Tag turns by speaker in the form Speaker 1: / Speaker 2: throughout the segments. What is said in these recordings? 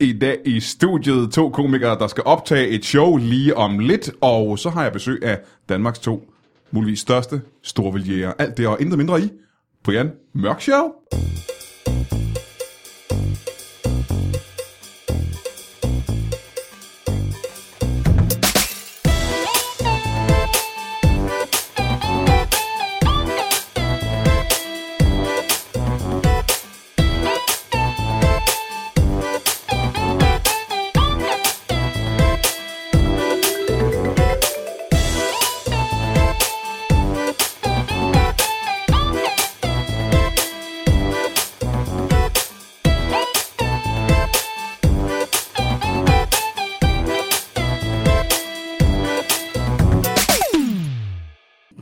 Speaker 1: I dag i studiet to komikere, der skal optage et show lige om lidt, og så har jeg besøg af Danmarks to muligvis største storvildjæger. Alt det og intet mindre i Brian Mørk Show.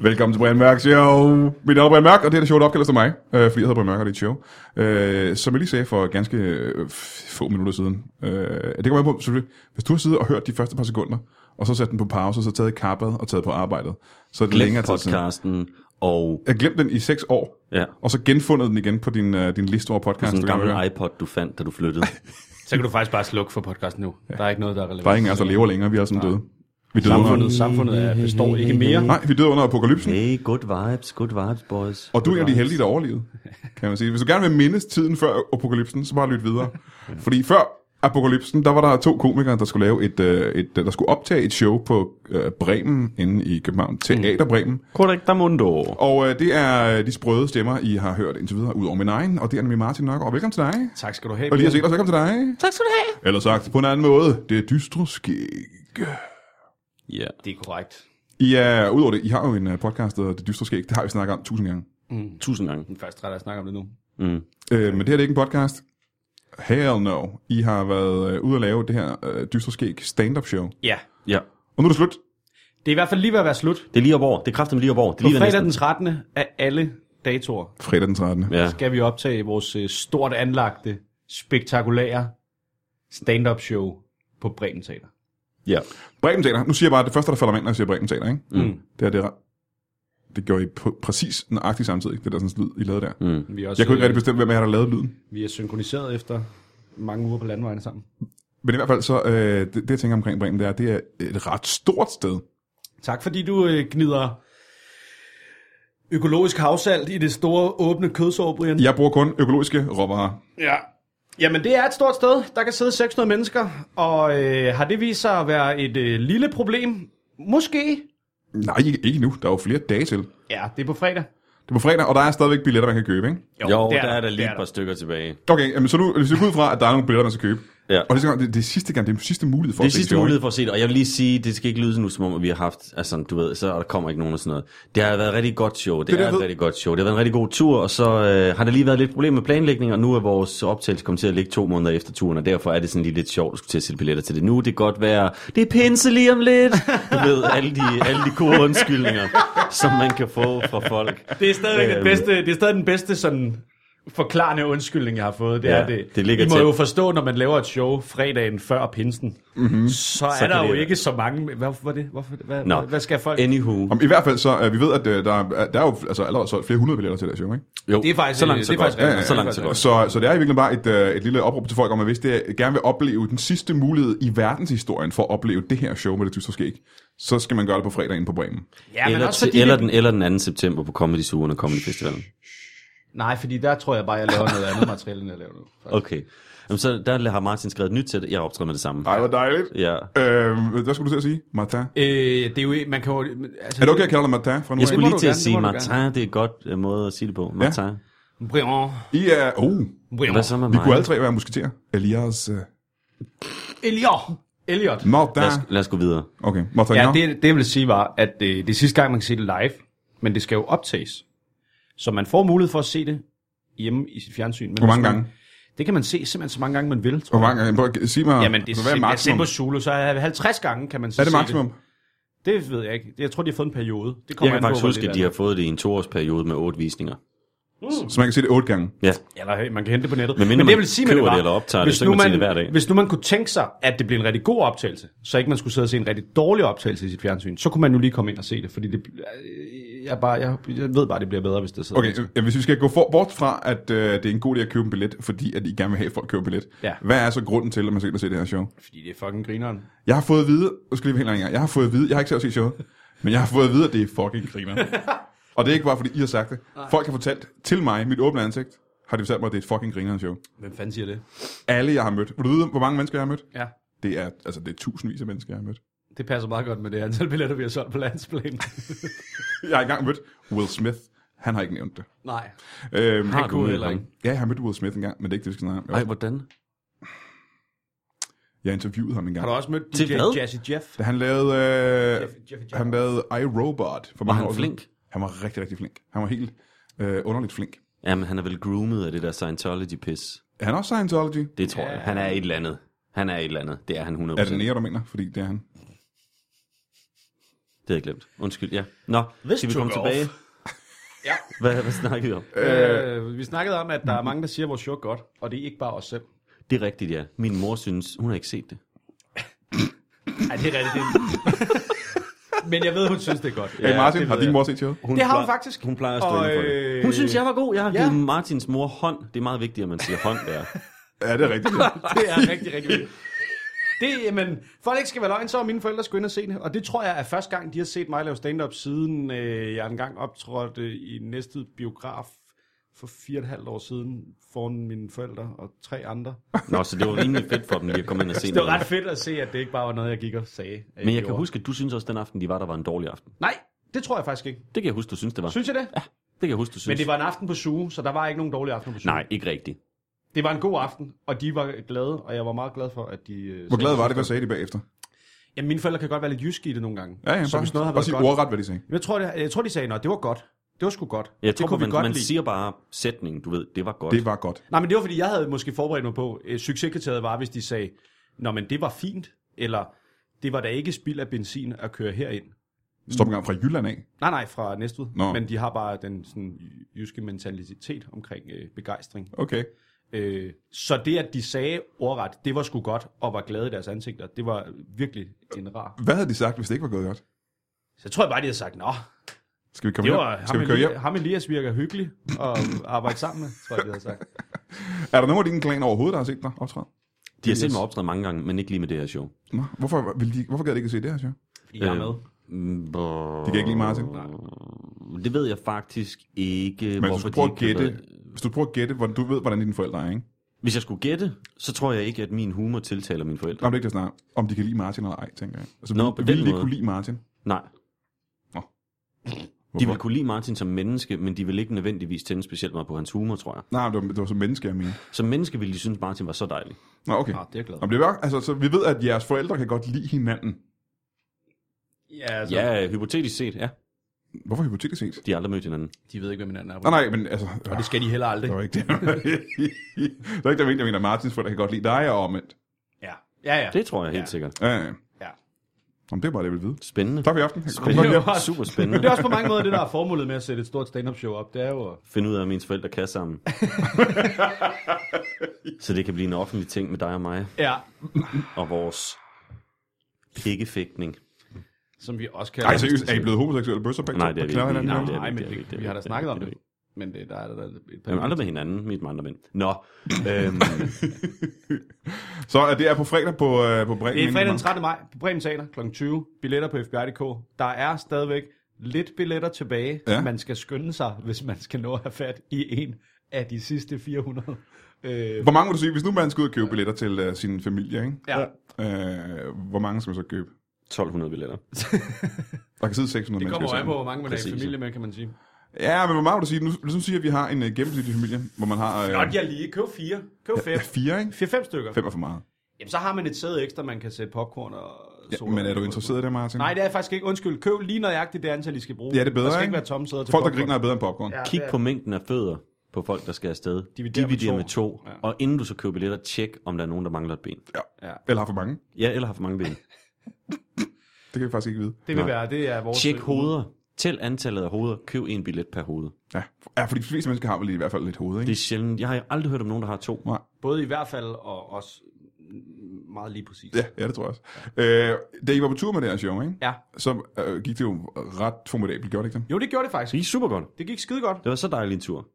Speaker 1: Velkommen til Brian Mørk Show. Mit navn er Brian Mørk, og det her er showet opkaldes til mig, øh, fordi jeg hedder Brian Mørk, og det er et show. Øh, som jeg lige sagde for ganske øh, f- få minutter siden. Øh, det kommer an på, selvfølgelig. Hvis du har siddet og hørt de første par sekunder, og så sat den på pause, og så taget kappet og taget på arbejdet, så er det længere
Speaker 2: Glem
Speaker 1: tid siden.
Speaker 2: podcasten, og
Speaker 1: Jeg glemte den i 6 år,
Speaker 2: ja,
Speaker 1: og så genfundet den igen på din, øh, din liste over podcast.
Speaker 2: sådan en gammel iPod, du fandt, da du flyttede.
Speaker 3: Så kan du faktisk bare slukke for podcasten nu. Der er ikke noget, der er relevant.
Speaker 1: Der er ingen af os, der lever længere, vi er sådan døde. Vi døde
Speaker 3: Samfundet,
Speaker 1: under,
Speaker 3: samfundet er, består ikke mere.
Speaker 1: nej, vi døde under apokalypsen.
Speaker 2: Hey, good vibes, good vibes, boys.
Speaker 1: Og du er en af de
Speaker 2: Good
Speaker 1: heldige, der overlevede, kan man sige. Hvis du gerne vil mindes tiden før apokalypsen, så bare lyt videre. Fordi før apokalypsen, der var der to komikere, der skulle lave et, øh, et øh, der skulle optage et show på øh, Bremen inde i København, Teater
Speaker 2: Mm.
Speaker 1: Bremen.
Speaker 2: vibes. Correcta mundo.
Speaker 1: Og øh, det er øh, de sprøde stemmer, I har hørt indtil videre, ud over min egen, og det er nemlig Martin Nørgaard. Velkommen til dig.
Speaker 3: Tak skal du have.
Speaker 1: Og lige at se dig, velkommen til dig.
Speaker 2: Tak skal du have.
Speaker 1: Eller sagt på en anden måde, det er dystre skæg.
Speaker 2: Ja.
Speaker 3: Det er korrekt.
Speaker 1: I er, udover det, I har jo en øh, podcast, der hedder Det Dystre Skæg. Det har vi snakket om tusind gange.
Speaker 2: Tusind gange.
Speaker 3: Den første ret, jeg snakker om det nu.
Speaker 2: Mm.
Speaker 1: Øh, men det her det er ikke en podcast. Hell no. I har været øh, ude at lave det her øh, dystre skæg stand-up show.
Speaker 3: Ja,
Speaker 2: Ja.
Speaker 1: Og nu er det slut.
Speaker 3: det er i hvert fald lige ved at være slut.
Speaker 2: Det er lige op over. Det er kraftigt lige op over. Det er
Speaker 3: På
Speaker 2: lige ved
Speaker 3: fredag den
Speaker 2: næsten.
Speaker 3: 13. af alle datoer
Speaker 1: Fredag den 13. Ja.
Speaker 2: Ja.
Speaker 3: skal vi optage vores øh, stort anlagte, spektakulære stand-up show på Bremen Teater.
Speaker 2: ja.
Speaker 1: Bremen Teater. Nu siger jeg bare, at det første, der falder mig ind, når jeg siger Bremen Teater, ikke?
Speaker 3: Mm.
Speaker 1: Det er det er ret- Det gjorde I på, præcis nøjagtigt samtidig, det der sådan lyd, I lavede der. Mm.
Speaker 3: Vi er, også,
Speaker 1: Jeg kunne ikke
Speaker 3: øh,
Speaker 1: rigtig bestemme, hvem af jer, der lavede lyden.
Speaker 3: vi er synkroniseret efter mange uger på landvejen sammen.
Speaker 1: Men i hvert fald så, øh, det, det, jeg tænker omkring Bremen, det er, at det er et ret stort sted.
Speaker 3: Tak fordi du øh, gnider økologisk havsalt i det store åbne kødsår, Brian.
Speaker 1: Jeg bruger kun økologiske råvarer.
Speaker 3: Ja. Jamen, det er et stort sted. Der kan sidde 600 mennesker, og øh, har det vist sig at være et øh, lille problem? Måske.
Speaker 1: Nej, ikke, ikke nu. Der er jo flere dage til.
Speaker 3: Ja, det er på fredag.
Speaker 1: Det er på fredag, og der er stadigvæk billetter, man kan købe, ikke?
Speaker 2: Jo, der er der lige
Speaker 3: det
Speaker 2: et par stykker tilbage.
Speaker 1: Okay, jamen, så nu, hvis vi går ud fra, at der er nogle billetter, man skal købe.
Speaker 2: Ja.
Speaker 1: Og det, skal, det, det er sidste gang, det er sidste mulighed for
Speaker 2: Det er
Speaker 1: at se
Speaker 2: sidste
Speaker 1: show, ikke?
Speaker 2: mulighed for at se det, og jeg vil lige sige, det skal ikke lyde nu, som om at vi har haft, altså du ved, så der kommer ikke nogen og sådan noget. Det har været et rigtig godt show, det,
Speaker 1: det,
Speaker 2: det
Speaker 1: jeg
Speaker 2: er et
Speaker 1: ved.
Speaker 2: rigtig godt show, det har været en rigtig god tur, og så øh, har der lige været lidt problem med planlægning, og nu er vores optagelse kommet til at ligge to måneder efter turen, og derfor er det sådan lige lidt sjovt at skulle til at sætte billetter til det nu. Det kan godt være, det er pinse lige om lidt, du ved, alle de, alle de gode undskyldninger, som man kan få fra folk.
Speaker 3: Det er stadigvæk
Speaker 2: Øhm.
Speaker 3: den bedste, det er stadig den bedste sådan forklarende undskyldning, jeg har fået. Det
Speaker 2: Ja,
Speaker 3: er det.
Speaker 2: det ligger
Speaker 3: I må
Speaker 2: tæt.
Speaker 3: jo forstå, når man laver et show fredagen før pinsen, mm-hmm. så er
Speaker 2: Mhm. kan
Speaker 3: der
Speaker 2: det
Speaker 3: jo
Speaker 2: være.
Speaker 3: ikke så mange... Hvad, var det? Hvorfor, hvad,
Speaker 2: Nå.
Speaker 3: no. hvad skal folk...
Speaker 2: Anywho.
Speaker 1: Om, I hvert fald så, øh, vi ved, at øh, der, er- der er jo altså, allerede solgt flere hundrede billetter til det her show, ikke?
Speaker 2: Jo,
Speaker 3: Det er faktisk-
Speaker 2: så
Speaker 3: øh,
Speaker 2: langt, så
Speaker 3: det er
Speaker 2: godt.
Speaker 3: faktisk- ja, ja,
Speaker 2: så
Speaker 3: ja,
Speaker 2: langt, så
Speaker 3: ja.
Speaker 2: godt.
Speaker 1: Så, så det er i virkeligheden bare et, øh, et lille opråb til folk om, at hvis det gerne vil opleve den sidste mulighed i verdenshistorien for at opleve det her show med det tyske skæg, så skal man gøre det på fredag inde på Bremen.
Speaker 3: Ja, men
Speaker 2: eller,
Speaker 3: også
Speaker 2: til,
Speaker 3: fordi...
Speaker 2: eller,
Speaker 3: Eller...
Speaker 2: den, eller den 2. september på Comedy Sugen og Comedy Festivalen.
Speaker 3: Nej, fordi der tror jeg bare, jeg laver noget andet materiale, end jeg laver nu.
Speaker 2: Okay. Jamen, så der har Martin skrevet et nyt til det. Jeg optræder med det samme.
Speaker 1: Ej, hvor dejligt.
Speaker 2: Ja.
Speaker 1: Øh, hvad skulle du til at sige? Martin?
Speaker 3: Øh, det er jo... ikke- Man kan jo altså,
Speaker 1: Er det okay, jeg kalder dig Martin fra nu
Speaker 2: Jeg
Speaker 1: af?
Speaker 2: skulle
Speaker 3: må
Speaker 2: lige
Speaker 3: du
Speaker 2: til at
Speaker 3: gerne, det
Speaker 2: sige,
Speaker 3: må du
Speaker 2: Martin, det er et godt øh, måde at sige det på. Martin. Ja.
Speaker 3: Brian,
Speaker 1: I er... Oh,
Speaker 3: Brian.
Speaker 2: Hvad så med
Speaker 1: vi
Speaker 2: mig?
Speaker 1: kunne alle tre være musketerer. Elias... Øh,
Speaker 3: Eliot. Eliot.
Speaker 1: Martin.
Speaker 2: Lad os, lad os gå videre.
Speaker 1: Okay, Martin.
Speaker 3: Ja,
Speaker 1: Jørgensen.
Speaker 3: det, det jeg vil sige var, at øh, det er sidste gang, man kan se det live, men det skal jo optages. Så man får mulighed for at se det hjemme i sit fjernsyn. Men
Speaker 1: Hvor mange
Speaker 3: hvis man-
Speaker 1: gange?
Speaker 3: Det kan man se simpelthen så mange gange, man vil. Tror
Speaker 1: Hvor mange gange? Prøv at sige mig,
Speaker 3: jeg. Jamen, det er
Speaker 1: altså, hvad er
Speaker 3: simpelthen jeg ser
Speaker 1: maksimum?
Speaker 3: på Zulu, så er 50 gange kan man så
Speaker 1: Er det
Speaker 3: se
Speaker 1: maksimum?
Speaker 3: det. Det ved jeg ikke. Jeg tror, de har fået en periode. Det
Speaker 2: Jeg
Speaker 3: kommer
Speaker 2: kan
Speaker 3: an på,
Speaker 2: faktisk
Speaker 3: hvor
Speaker 2: huske,
Speaker 3: lidt
Speaker 2: at de
Speaker 3: er Mm.
Speaker 2: har fået det i en toårsperiode med otte visninger.
Speaker 1: Så man kan se det otte gange.
Speaker 2: Ja.
Speaker 3: det. Eller hey, man kan hente det på nettet.
Speaker 2: Men mindre
Speaker 3: det, jeg
Speaker 2: man
Speaker 3: vil sige, med
Speaker 2: køber
Speaker 3: var,
Speaker 2: det eller optager det,
Speaker 3: hvis
Speaker 2: så
Speaker 3: nu
Speaker 2: kan man se det hver dag.
Speaker 3: Hvis nu man kunne tænke sig, at det blev en rigtig god optagelse, så ikke man skulle sidde og se en rigtig dårlig optagelse i sit fjernsyn, så kunne man nu lige komme ind og se det, fordi det, øh, jeg, bare, jeg, jeg ved bare, det bliver bedre, hvis det sidder.
Speaker 1: Okay, øh, hvis vi skal gå for, bort fra, at øh, det er en god idé at købe en billet, fordi at I gerne vil have, at folk køber en billet.
Speaker 3: Ja.
Speaker 1: Hvad er så grunden til, at man skal ind og se det her show?
Speaker 3: Fordi det er fucking grineren.
Speaker 1: Jeg har fået at vide, nu skal jeg lige være helt ærlig her. jeg har fået at vide, jeg har ikke selv set showet, men jeg har fået at vide, at det er fucking griner. og det er ikke bare, fordi I har sagt det. Folk har fortalt til mig, mit åbne ansigt, har de fortalt mig, at det er et fucking grinerende show.
Speaker 3: Hvem fanden siger det?
Speaker 1: Alle, jeg har mødt. Vil du vide, hvor mange mennesker jeg har mødt?
Speaker 3: Ja,
Speaker 1: Det er, altså, det er tusindvis af mennesker, jeg har mødt.
Speaker 3: det passer meget godt med det antal billetter, vi har solgt på landsplan.
Speaker 1: Jeg har engang mødt Will Smith. Han har ikke nævnt det.
Speaker 3: Nej.
Speaker 1: Øhm,
Speaker 2: Har
Speaker 3: kunne
Speaker 2: mødt
Speaker 3: heller
Speaker 2: ham?
Speaker 3: ikke.
Speaker 1: ja, jeg har mødt Will Smith engang, men det er ikke det, vi skal snakke om.
Speaker 2: Ej,
Speaker 1: Jeg,
Speaker 2: hvordan?
Speaker 1: jeg interviewede ham engang.
Speaker 3: Har du også mødt
Speaker 2: Til
Speaker 3: DJ
Speaker 2: hvad?
Speaker 3: Jazzy Jeff?
Speaker 1: Da han lavede, øh,
Speaker 3: Jeff- Jeff-
Speaker 1: han lavede iRobot for mange
Speaker 2: han
Speaker 1: år siden.
Speaker 2: flink?
Speaker 1: Han var rigtig, rigtig flink. Han var helt øh, underligt flink.
Speaker 2: Jamen, han er vel groomet af det der Scientology-pis.
Speaker 1: Er han også Scientology?
Speaker 2: Det tror jeg. Han er et eller andet. Han er et eller andet. Det er han 100%.
Speaker 1: Er det Nea, du mener? Fordi det er han.
Speaker 2: Det havde jeg glemt. Undskyld, ja. Nå, This skal vi
Speaker 3: took
Speaker 2: komme
Speaker 3: off.
Speaker 2: tilbage?
Speaker 3: Ja.
Speaker 2: Hvad, hvad snakkede vi om?
Speaker 3: Øh, vi snakkede om, at der er mange, der siger, at vores show er godt, og det er ikke bare os selv.
Speaker 2: Det er rigtigt, ja. Min mor synes, hun har ikke set det.
Speaker 3: Nej, det er rigtigt. Men jeg ved, hun synes, det er godt.
Speaker 1: Ja, hey Martin,
Speaker 3: det
Speaker 1: har
Speaker 3: ved
Speaker 1: din
Speaker 3: jeg.
Speaker 1: mor set showet?
Speaker 2: Hun
Speaker 3: Det har hun
Speaker 2: plejer-
Speaker 3: faktisk.
Speaker 2: Hun plejer at stå
Speaker 3: Og,
Speaker 2: inde for det.
Speaker 3: øh,
Speaker 2: Hun synes, jeg var god. Jeg har
Speaker 3: ja.
Speaker 2: givet Martins mor hånd. Det er meget vigtigt, at man siger hånd der.
Speaker 1: Ja, det er rigtigt.
Speaker 3: Det er rigtig, rigtig vildt. Det, jamen, for at det ikke skal være løgn, så har mine forældre skulle ind og se det. Og det tror jeg er første gang, de har set mig lave stand-up, siden øh, jeg engang optrådte i næste biograf for fire og et halvt år siden foran mine forældre og tre andre.
Speaker 2: Nå, så det var rimelig fedt for dem lige at komme ind og se
Speaker 3: Det var ret fedt at se, at det ikke bare var noget, jeg gik og sagde. at
Speaker 2: Men jeg kan
Speaker 3: gjorde.
Speaker 2: huske, at du synes også, at den aften, de var der, var en dårlig aften.
Speaker 3: Nej, det tror jeg faktisk ikke.
Speaker 2: Det kan jeg huske, du synes, det var.
Speaker 3: Synes jeg det? Ja,
Speaker 2: Det kan jeg huske, du synes.
Speaker 3: Men det var en aften på suge, så der var ikke nogen dårlig aften på suge.
Speaker 2: Nej, ikke rigtigt.
Speaker 3: Det var en god aften, og de var glade, og jeg var meget glad for, at de... øh,
Speaker 1: Hvor
Speaker 3: sagde-
Speaker 1: glad var det, hvad sagde de bagefter?
Speaker 3: Jamen, mine forældre kan godt være lidt jyske i det nogle gange.
Speaker 1: Ja, ja,
Speaker 3: så hvis noget har
Speaker 1: bare
Speaker 3: været
Speaker 1: sig
Speaker 3: godt...
Speaker 1: ordret, hvad de sagde.
Speaker 3: Men Jeg tror, det, jeg tror de sagde, at det var godt. Det var sgu godt.
Speaker 2: Jeg tror,
Speaker 3: kunne
Speaker 2: man,
Speaker 3: vi godt
Speaker 2: man
Speaker 3: lide.
Speaker 2: siger bare sætningen, du ved, det var godt.
Speaker 1: Det var godt.
Speaker 3: Nej, men det var, fordi jeg havde måske forberedt mig på, øh, succeskriteriet var, hvis de sagde, Nå, men det var fint, eller det var da ikke spild af benzin at køre herind.
Speaker 1: Stop en gang fra Jylland af.
Speaker 3: Nej, nej, fra Næstved.
Speaker 1: Nå.
Speaker 3: Men de har bare den sådan, jyske mentalitet omkring øh, begejstring.
Speaker 1: Okay.
Speaker 3: Øh, så det, at de sagde ordret, det var sgu godt, og var glade i deres ansigter, det var virkelig en rar.
Speaker 1: Hvad havde de sagt, hvis det ikke var gået godt?
Speaker 3: Så jeg tror jeg bare, de havde sagt, nå,
Speaker 1: Skal vi komme
Speaker 3: det
Speaker 1: hjem?
Speaker 3: var
Speaker 1: Skal
Speaker 3: ham,
Speaker 1: vi køre hjem?
Speaker 3: Eli- ham Elias virker hyggelig at arbejde sammen med, tror jeg, de havde sagt.
Speaker 1: Er der nogen af dine klan overhovedet, der har set dig optræde?
Speaker 2: De har set mig optræde mange gange, men ikke lige med det her show.
Speaker 1: Nå, hvorfor, vil de, hvorfor gad de ikke at se det her show?
Speaker 3: Fordi jeg er
Speaker 2: Øh,
Speaker 3: med.
Speaker 2: Mm, brrr.
Speaker 1: De kan ikke lide Martin.
Speaker 2: Det ved jeg faktisk ikke,
Speaker 1: Men hvis
Speaker 2: hvorfor
Speaker 1: du prøver
Speaker 2: de
Speaker 1: at
Speaker 2: ikke
Speaker 1: gætte,
Speaker 2: har været-
Speaker 1: hvis du prøver at gætte, hvordan du ved, hvordan dine forældre er, ikke?
Speaker 2: Hvis jeg skulle gætte, så tror jeg ikke, at min humor tiltaler mine forældre.
Speaker 1: Nå, men det er ikke det, jeg snakker om. Om de kan lide Martin eller ej, tænker jeg. Altså,
Speaker 2: Nå,
Speaker 1: vil-
Speaker 2: på den
Speaker 1: vil de
Speaker 2: måde.
Speaker 1: kunne lide Martin?
Speaker 2: Nej.
Speaker 1: Nå.
Speaker 2: De vil kunne lide Martin som menneske, men de vil ikke nødvendigvis tænde specielt meget på hans humor, tror jeg.
Speaker 1: Nej, det var, det var som menneske, jeg mener.
Speaker 2: Som menneske ville de synes, Martin var så dejlig.
Speaker 1: Nå, okay.
Speaker 3: Ah, det er jeg glad.
Speaker 1: Nå, men det er, bare- altså, så vi ved, at jeres forældre kan godt lide hinanden.
Speaker 3: Ja, altså, ja.
Speaker 2: Ja, hypotetisk set, ja.
Speaker 1: Hvorfor hypotetisk set?
Speaker 2: De har aldrig mødt hinanden.
Speaker 3: de ved ikke, hvem hinanden er.
Speaker 1: Nej, nej, men altså...
Speaker 3: Og det skal de heller aldrig.
Speaker 1: Det var ikke det. det var ikke det, jeg mente. Jeg mener, Martins forældre kan godt lide dig og omvendt.
Speaker 3: Ja, ja, ja.
Speaker 2: Det tror jeg helt
Speaker 3: Ja.
Speaker 2: sikkert.
Speaker 1: Ja, ja.
Speaker 3: ja.
Speaker 1: Jamen, det er bare det, jeg ville vide.
Speaker 2: Spændende.
Speaker 1: Tak for i aften. Kom
Speaker 2: Spændende.
Speaker 1: godt hjem.
Speaker 3: Det var-
Speaker 2: Super
Speaker 3: Men det
Speaker 2: spændende.
Speaker 3: er også på mange måder det, der er formålet med at sætte et stort stand-up show op. Det er jo...
Speaker 2: Finde ud af, at mine forældre kan sammen. så det kan blive en offentlig ting med dig og mig.
Speaker 3: Ja,
Speaker 2: Og vores pikkefægtning.
Speaker 3: som vi også kan...
Speaker 1: Ej, seriøst, er I blevet homoseksuelle bøsser begge
Speaker 2: Nej,
Speaker 1: to?
Speaker 2: det er vi
Speaker 1: Knaller
Speaker 2: ikke.
Speaker 1: hinanden
Speaker 3: Nej,
Speaker 1: i
Speaker 2: det
Speaker 1: øjnene?
Speaker 2: er
Speaker 3: nej,
Speaker 2: vi ikke, det
Speaker 3: men
Speaker 2: er vi ikke,
Speaker 3: det,
Speaker 2: det er
Speaker 3: vi har da
Speaker 2: vi
Speaker 3: snakket om
Speaker 2: ikke, det er
Speaker 3: det. Men det, der er der et par
Speaker 2: Jamen aldrig med hinanden, mit andre mænd. Nå. Øhm,
Speaker 1: Så er det er på fredag på, øh, på Bremen.
Speaker 3: Det er fredag den
Speaker 1: Ingemann.
Speaker 3: 13. maj på Bremen Teater kl. 20. Billetter på fbi.dk. Der er stadigvæk lidt billetter tilbage.
Speaker 1: Ja.
Speaker 3: Ja. Man skal skynde sig, hvis man skal nå at have fat i en af de sidste 400. Øh,
Speaker 1: Hvor mange vil du sige, hvis nu man skal ud og købe billetter til øh, sin familie, ikke?
Speaker 3: ja.
Speaker 1: Øh, hvor mange skal man så købe?
Speaker 2: 1200 billetter.
Speaker 1: Der kan sidde 600
Speaker 3: Det
Speaker 1: mennesker.
Speaker 3: kommer jo
Speaker 1: i
Speaker 3: an på,
Speaker 1: salen.
Speaker 3: hvor mange man er i
Speaker 2: Præcis.
Speaker 3: familie med, kan man sige.
Speaker 1: Ja, men hvor meget vil du sige? Nu, nu siger jeg, at vi har en uh, gennemsnitlig familie, hvor man har uh,
Speaker 3: Godt, jeg lige. Køb fire. Køb fem.
Speaker 1: fire, ikke?
Speaker 3: Fire-fem stykker.
Speaker 1: Fem er for meget.
Speaker 3: Jamen, så har man et sæde ekstra, man kan sætte popcorn og
Speaker 1: Ja,
Speaker 3: soda.
Speaker 1: men er du interesseret i det, Martin?
Speaker 3: Nej, det er jeg faktisk ikke. Undskyld, køb lige nøjagtigt det antal, I skal bruge.
Speaker 1: Ja, det er bedre,
Speaker 3: Der skal
Speaker 1: ikke?
Speaker 3: ikke være tomme sæder til
Speaker 1: Folk, der
Speaker 3: popcorn.
Speaker 1: griner, er bedre end popcorn.
Speaker 3: Ja,
Speaker 2: Kig
Speaker 3: det er-
Speaker 2: på mængden af fødder på folk, der skal afsted.
Speaker 3: Divider
Speaker 2: Divider,
Speaker 3: med
Speaker 2: Divider
Speaker 3: to.
Speaker 2: med to.
Speaker 3: Ja.
Speaker 2: Ja. Og inden du så køber billetter, tjek, om der er nogen, der mangler et ben.
Speaker 3: Ja,
Speaker 1: Eller har for mange.
Speaker 2: Ja, eller har for mange ben.
Speaker 1: Det kan vi faktisk ikke vide.
Speaker 3: det vil
Speaker 2: Nå.
Speaker 3: være, det er vores... øh,
Speaker 2: Tjek hoveder. Tæl antallet af hoveder. Køb en billet per hoved.
Speaker 1: Ja, ja fordi de fleste mennesker har vel i hvert fald lidt hoved, ikke?
Speaker 2: Det er sjældent. Jeg har aldrig hørt om nogen, der har to.
Speaker 1: Nej.
Speaker 3: Både i hvert fald og også meget lige præcis.
Speaker 1: Ja, ja, det tror jeg også. Øh, da I var på tur med det her show, ikke?
Speaker 3: ja.
Speaker 1: så øh, gik det jo ret formidabelt, gjorde det ikke det?
Speaker 3: Jo, det gjorde det faktisk.
Speaker 2: Det gik super godt.
Speaker 3: Det gik skide godt.
Speaker 2: Det var så dejlig en tur.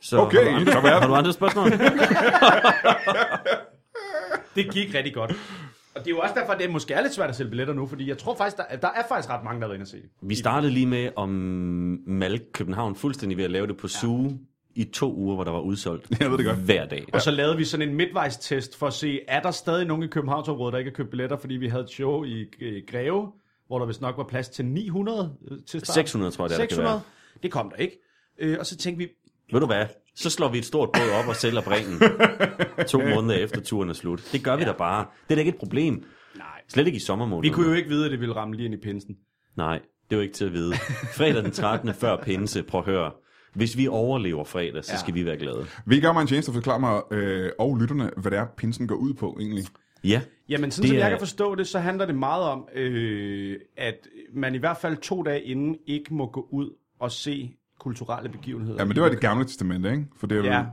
Speaker 2: Så
Speaker 1: Okay,
Speaker 2: har du
Speaker 1: så var
Speaker 2: andre,
Speaker 1: jeg-
Speaker 2: har du andre spørgsmål?
Speaker 3: Det gik rigtig godt. Og det er jo også derfor, at det måske er lidt svært at sælge billetter nu, fordi jeg tror faktisk, der, der er faktisk ret mange, der har været inde og se det.
Speaker 2: Vi startede lige med om Malk København fuldstændig ved at lave det på Zoo i to uger, hvor der var udsolgt
Speaker 1: Jeg ved det godt.
Speaker 2: hver dag.
Speaker 3: Og så lavede vi sådan en midtvejstest for at se, er der stadig nogen i Københavnsområdet, der ikke har købt billetter, fordi vi havde et show i øh, Greve, hvor der vist nok var plads til 900 øh, til start.
Speaker 2: 600 tror jeg, det er, der kan
Speaker 3: 600. Det kom der ikke. Øh, og så tænkte vi,
Speaker 2: Ved du hvad? Så slår vi et stort båd op og sælger bringen to måneder efter turen er slut. Det gør vi da bare. Det er da ikke et problem.
Speaker 3: nej.
Speaker 2: Slet ikke i sommermåneden.
Speaker 3: Vi kunne jo ikke vide, at det ville ramme lige ind i pinsen.
Speaker 2: Nej, det er jo ikke til at vide. Fredag den 13. før pinse, prøv at høre. Hvis vi overlever fredag, så
Speaker 3: Ja.
Speaker 2: skal vi være glade.
Speaker 1: Vil I gøre mig en tjeneste og forklare mig øh, og lytterne, hvad det er, pinsen går ud på egentlig?
Speaker 2: Ja,
Speaker 3: Jamen,
Speaker 2: Det
Speaker 3: sådan det som
Speaker 2: er-
Speaker 3: jeg kan forstå det, så handler det meget om, øh, at man i hvert fald to dage inden ikke må gå ud og se kulturelle begivenheder.
Speaker 1: Ja, men det var i det gamle testamente, ikke? For det er, ja.
Speaker 3: Ja.
Speaker 1: er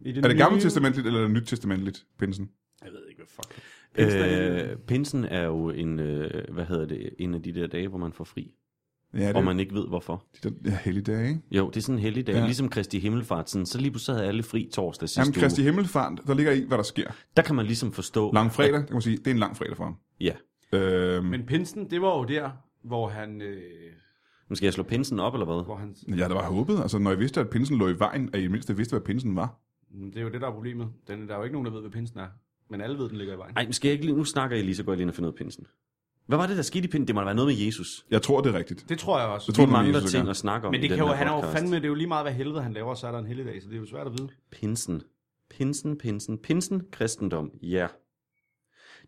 Speaker 3: I det,
Speaker 1: det gamle
Speaker 3: nye-
Speaker 1: testamentligt, eller er det nyt testamentligt, pinsen?
Speaker 3: Jeg ved ikke, hvad fuck. Pinsen er
Speaker 2: øh, pinsen er jo en, øh, hvad hedder det, en af de der dage, hvor man får fri.
Speaker 1: Ja, det
Speaker 2: Og
Speaker 1: er man...
Speaker 2: man ikke ved hvorfor.
Speaker 1: de der ja, hellige dage, ikke?
Speaker 2: Jo, det er sådan en heldig dag.
Speaker 1: Ja.
Speaker 2: Ja. Ligesom Kristi Himmelfart, sådan, så lige pludselig havde alle fri torsdag sidste
Speaker 1: Jamen, Kristi
Speaker 2: uge.
Speaker 1: Himmelfart, der ligger i, hvad der sker.
Speaker 2: Der kan man ligesom forstå.
Speaker 1: Langfredag, der kan man sige, det er en lang fredag for ham.
Speaker 2: Ja.
Speaker 1: Øhm, men...
Speaker 3: Men Pinsen, det var jo der, hvor han... Øh,
Speaker 2: Nu skal jeg slå pinsen op, eller hvad?
Speaker 3: hvor han
Speaker 1: Ja, der var håbet. Altså, når jeg vidste, at pinsen lå i vejen, at I i det mindste vidste, hvad pinsen var.
Speaker 3: det er jo det, der er problemet. Den, der er jo ikke nogen, der ved, hvad Pinsen er. Men alle ved, den ligger i vejen.
Speaker 2: Nej, men skal jeg ikke lige... Nu snakker jeg lige, så går jeg lige ind og finder ud af pinsen. Hvad var det, der skete i pinsen? Det må da være noget med Jesus.
Speaker 1: Jeg tror, det er rigtigt.
Speaker 3: Det tror jeg også.
Speaker 1: Jeg tror,
Speaker 2: Vi
Speaker 1: det er med
Speaker 2: mangler
Speaker 1: Jesus,
Speaker 2: ting
Speaker 1: at
Speaker 2: at snakke om
Speaker 3: Men
Speaker 2: i
Speaker 3: det kan
Speaker 2: den
Speaker 3: jo,
Speaker 2: her
Speaker 3: han er jo
Speaker 2: podcast.
Speaker 3: fandme, det er jo lige meget, hvad helvede han laver, så er der en helligdag, så det er jo svært at vide.
Speaker 2: Pinsen. Pinsen, pinsen, pinsen, kristendom. Ja.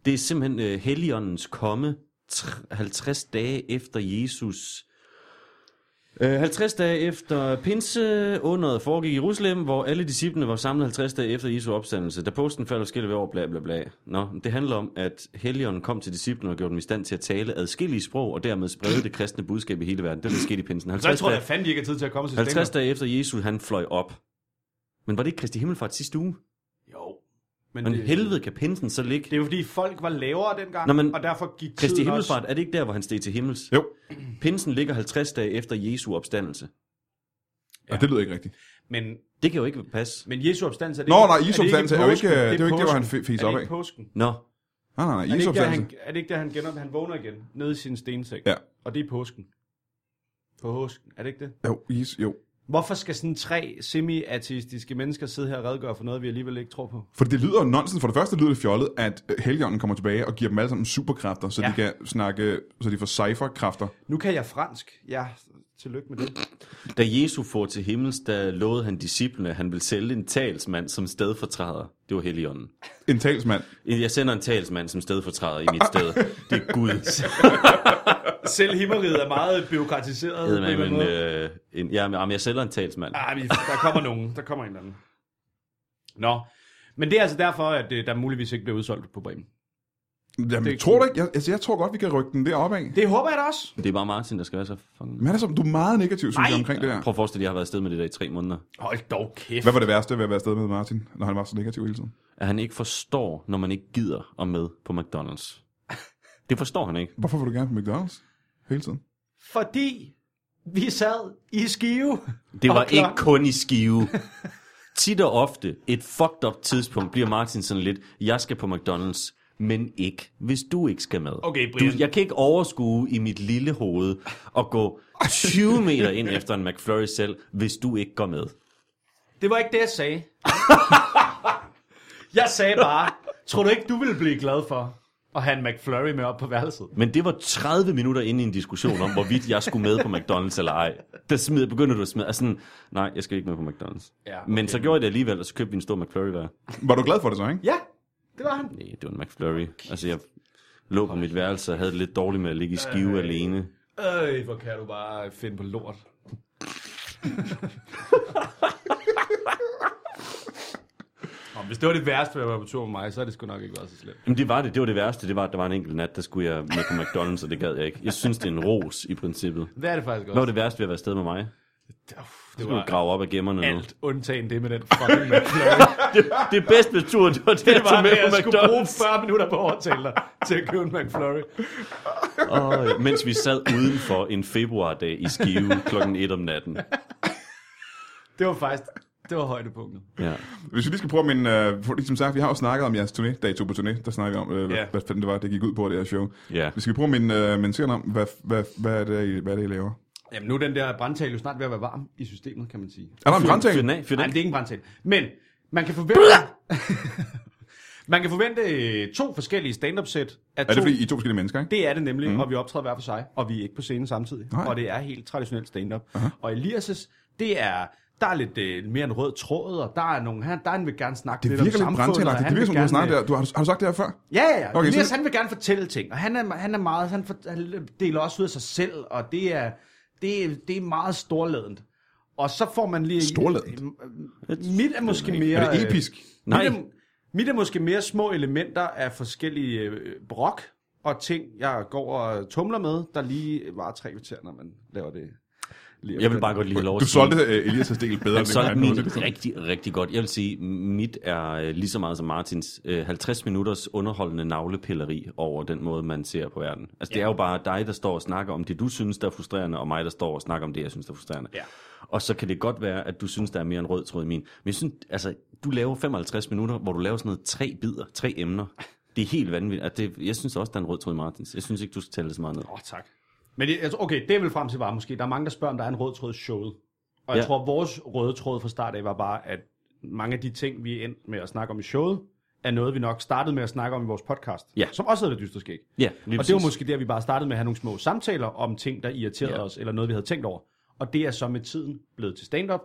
Speaker 2: Det er simpelthen uh, Helligåndens komme tr- 50 dage efter Jesus. Uh, 50 dage efter pinse under foregik i Jerusalem, hvor alle disciplene var samlet 50 dage efter Jesu opstandelse. Da posten faldt forskellige år, bla bla bla. Nå, det handler om, at Helligånden kom til disciplene og gjorde dem i stand til at tale adskillige sprog, og dermed sprede det kristne budskab i hele verden. Det er det, der skete i pinsen. 50
Speaker 3: Så jeg tror,
Speaker 2: dage-
Speaker 3: jeg fandt ikke er tid til at komme til
Speaker 2: 50
Speaker 3: 50...
Speaker 2: dage efter Jesus, han fløj op. Men var det ikke Kristi Himmelfart sidste uge?
Speaker 3: Jo. Men øh,
Speaker 2: Men helvede kan pinsen så ligge?
Speaker 3: Det er jo fordi, folk var lavere dengang,
Speaker 2: Nå, men
Speaker 3: og derfor gik
Speaker 2: Kristi
Speaker 3: tiden også...
Speaker 2: Himmelfart, er det ikke der, hvor han steg til himmels?
Speaker 1: Jo,
Speaker 2: Pinsen ligger 50 dage efter Jesu opstandelse.
Speaker 1: ja. det lyder ikke rigtigt.
Speaker 3: Men,
Speaker 2: Det kan jo ikke passe.
Speaker 3: men Jesu opstandelse er det
Speaker 1: Nå,
Speaker 3: ikke,
Speaker 1: nej,
Speaker 3: er det
Speaker 1: Jesu
Speaker 3: ikke
Speaker 1: opstandelse er jo ikke-
Speaker 3: påsken?
Speaker 1: det er jo ikke det, hvor han
Speaker 3: påsken.
Speaker 1: fe- fes
Speaker 3: Er det
Speaker 1: op
Speaker 3: ikke
Speaker 1: af.
Speaker 3: påsken?
Speaker 2: Nå,
Speaker 1: Nej, nej, nej.
Speaker 3: Er det,
Speaker 1: Jesu
Speaker 3: ikke, der,
Speaker 1: opstandelse.
Speaker 3: han, er det ikke der, han genop, han vågner igen, nede i sin stenseng?
Speaker 1: Ja.
Speaker 3: Og det er påsken. På påsken, er det ikke det?
Speaker 1: Jo, Jesus, jo.
Speaker 3: Hvorfor skal sådan tre semi-ateistiske mennesker sidde her og redegøre for noget, vi alligevel ikke tror på?
Speaker 1: For det lyder jo nonsens. For det første lyder det fjollet, at øh, Helligånden kommer tilbage og giver dem alle sammen superkræfter, så ja.
Speaker 3: Ja.
Speaker 1: de kan snakke, så de får cypherkræfter.
Speaker 3: Nu kan jeg fransk. Ja, tillykke med det.
Speaker 2: da Jesu får til himmels, der lovede han disciplene, at han vil sælge en talsmand som stedfortræder. Det var Helligånden.
Speaker 1: En talsmand.
Speaker 2: Jeg sender en talsmand som stedfortræder i mit sted. Det er Gud.
Speaker 3: Selv himmeriget er meget byråkratiseret.
Speaker 2: Eddermame, en, øh, en, ja, men jamen, jeg sælger en talsmand.
Speaker 1: øh,
Speaker 3: Ej, Ah, vi- der kommer nogen. Der kommer en eller anden. Nå. Men det er altså derfor, at øh, der muligvis ikke bliver udsolgt på Bremen.
Speaker 1: Jamen,
Speaker 3: Det-
Speaker 1: tror du ikke? Jeg, altså, jeg tror godt, vi kan rykke den deroppe af.
Speaker 3: Det håber jeg da også.
Speaker 2: Det er bare Martin, der skal være så fucking...
Speaker 1: Men han er som, du er meget negativ, synes
Speaker 3: Nej.
Speaker 1: jeg, omkring det der.
Speaker 2: Prøv at forestille dig, at jeg har været afsted med det der i tre måneder.
Speaker 3: Hold dog kæft.
Speaker 1: Hvad var det værste ved at være afsted med Martin, når han var så negativ hele tiden?
Speaker 2: at han ikke forstår, når man ikke gider at med på McDonald's. Det forstår han ikke.
Speaker 1: Hvorfor vil du gerne på McDonald's hele tiden?
Speaker 3: Fordi vi sad i skive.
Speaker 2: Det var
Speaker 3: Og klokken-
Speaker 2: ikke kun i skive. Tit og ofte, et fucked up tidspunkt, bliver Martin sådan lidt, jeg skal på McDonald's, men ikke, hvis du ikke skal med.
Speaker 3: Okay,
Speaker 2: du,
Speaker 3: Brian.
Speaker 2: jeg kan ikke overskue i mit lille hoved at gå 20 meter ind efter en McFlurry selv, hvis du ikke går med.
Speaker 3: Det var ikke det, jeg sagde. jeg sagde bare, tror du ikke, du ville blive glad for at have en McFlurry med op på værelset?
Speaker 2: Men det var 30 minutter inde i en diskussion om, hvorvidt jeg skulle med på McDonald's eller ej. Der smider, begynder du at smide, altså sådan, nej, jeg skal ikke med på McDonald's.
Speaker 3: Ja,
Speaker 2: Men
Speaker 3: okay.
Speaker 2: så gjorde jeg det alligevel, og så købte vi en stor McFlurry hver.
Speaker 1: Var du glad for det så, ikke?
Speaker 3: Ja, det var han.
Speaker 2: Nej, det var en McFlurry. Altså, jeg lå på mit værelse og havde det lidt dårligt med at ligge i skive øh, alene.
Speaker 3: Øh, hvor kan du bare finde på lort. Nå, hvis det var det værste ved at være på tur med mig, så er det sgu nok ikke været så slemt.
Speaker 2: Men det var det. Det var det værste. Det var, at der var en enkelt nat, der skulle jeg med på McDonald's, og det gad jeg ikke. Jeg synes, det er en ros i princippet.
Speaker 3: Det er det faktisk
Speaker 2: Hvad var
Speaker 3: også.
Speaker 2: det værste ved at være afsted med mig? Det skal du grave op af gemmerne nu.
Speaker 3: alt undtagen det med den fucking McFlurry.
Speaker 2: Det bedste ved turen, det var det,
Speaker 3: Det
Speaker 2: jeg
Speaker 3: var
Speaker 2: tog
Speaker 3: med,
Speaker 2: med
Speaker 3: at jeg
Speaker 2: på
Speaker 3: skulle bruge
Speaker 2: McDonald's.
Speaker 3: 40 minutter på at overtale dig til at købe en McFlurry.
Speaker 2: Åh, ja. mens vi sad udenfor en februardag i Skive klokken 1 om natten.
Speaker 3: Det var faktisk, det var højdepunktet.
Speaker 2: Ja.
Speaker 1: Hvis vi lige skal prøve min... Øh, for- ligesom sagt, vi har jo snakket om jeres turné, dato på turné, der snakker vi om, øh, hvad,
Speaker 3: Ja.
Speaker 1: hvad fanden det var, det gik ud på, det her show.
Speaker 2: Ja.
Speaker 1: Vi skal prøve min, øh, min serien om, hvad, hvad, hvad, er det, I, hvad er det, I laver?
Speaker 3: Jamen nu er den der brandtale jo snart ved at være varm i systemet, kan man sige.
Speaker 1: Er der en
Speaker 2: Fyr den
Speaker 1: brandtale?
Speaker 2: af, fyr den
Speaker 3: Nej,
Speaker 2: af.
Speaker 3: det er ikke en brandtale. Men man kan forvente... man kan forvente øh, to forskellige stand-up-sæt. Af
Speaker 1: Er
Speaker 3: to...
Speaker 1: det fordi, I er to forskellige mennesker, ikke?
Speaker 3: Det er det nemlig, mm. og vi optræder hver for sig, og vi er ikke på scenen samtidig.
Speaker 1: Nej.
Speaker 3: Nej. Og det er helt traditionelt stand-up. Uh-huh. Og Elias' det er... Der er lidt øh, mere en rød tråd, og der er nogle her, der han vil gerne snakke
Speaker 1: Det
Speaker 3: lidt
Speaker 1: virker
Speaker 3: om
Speaker 1: lidt
Speaker 3: samfundet. og
Speaker 1: brandtalagtigt.
Speaker 3: han
Speaker 1: Det virker
Speaker 3: vil
Speaker 1: som, du har
Speaker 3: gerne,
Speaker 1: snakket
Speaker 3: øh,
Speaker 1: der. Du, har, du- har du sagt det her før?
Speaker 3: Ja, ja, ja.
Speaker 1: Okay,
Speaker 3: Okay, Elias,
Speaker 1: så-
Speaker 3: han vil gerne fortælle ting, og han er, han er meget, han, for, han deler også ud af sig selv, og det er, det, er- det er meget storladent. Og så får man lige...
Speaker 1: Storladent?
Speaker 3: Mit er måske mere...
Speaker 1: Er det
Speaker 3: øh,
Speaker 1: episk?
Speaker 2: Nej.
Speaker 3: Mit er, mit er måske mere små elementer af forskellige øh, brok og ting, jeg går og tumler med, der lige var tre kvarter, når man laver det. Lige
Speaker 2: Jeg vil bare godt lige have lov at
Speaker 1: Du
Speaker 2: sige-
Speaker 1: solgte øh, Elias' del bedre,
Speaker 2: Han solgte
Speaker 1: han nåede
Speaker 2: mit
Speaker 1: til.
Speaker 2: rigtig, rigtig godt. Jeg vil sige, mit er øh, lige så meget som Martins øh, 50 minutters underholdende navlepilleri over den måde, man ser på verden. Altså, det er jo bare dig, der står og snakker om det, du synes, der er frustrerende, og mig, der står og snakker om det, jeg synes, der er frustrerende.
Speaker 3: Ja.
Speaker 2: Og så kan det godt være, at du synes, der er mere en rød tråd i min. Men jeg synes, altså, du laver 55 minutter, hvor du laver sådan noget tre bidder, tre emner. Det er helt vanvittigt. At det, jeg synes også, der er en rød tråd i Martins. Jeg synes ikke, du skal tale det så meget ned.
Speaker 3: Åh, oh, tak. Men jeg, jeg tror- okay, det er vel frem til var måske. Der er mange, der spørger, om der er en rød tråd i showet. Og jeg
Speaker 2: Ja.
Speaker 3: ja. tror, vores røde tråd fra start af var bare, at mange af de ting, vi endte med at snakke om i showet, er noget, vi nok startede med at snakke om i vores podcast.
Speaker 2: Ja.
Speaker 3: Som også hedder Det Dystre Skæg.
Speaker 2: Ja, lige
Speaker 3: Og det var
Speaker 2: præcis.
Speaker 3: måske der, vi bare startede med at have nogle små samtaler om ting, der irriterede
Speaker 2: Ja.
Speaker 3: ja. os, eller noget, vi havde tænkt over. Og det er så med tiden blevet til stand-up,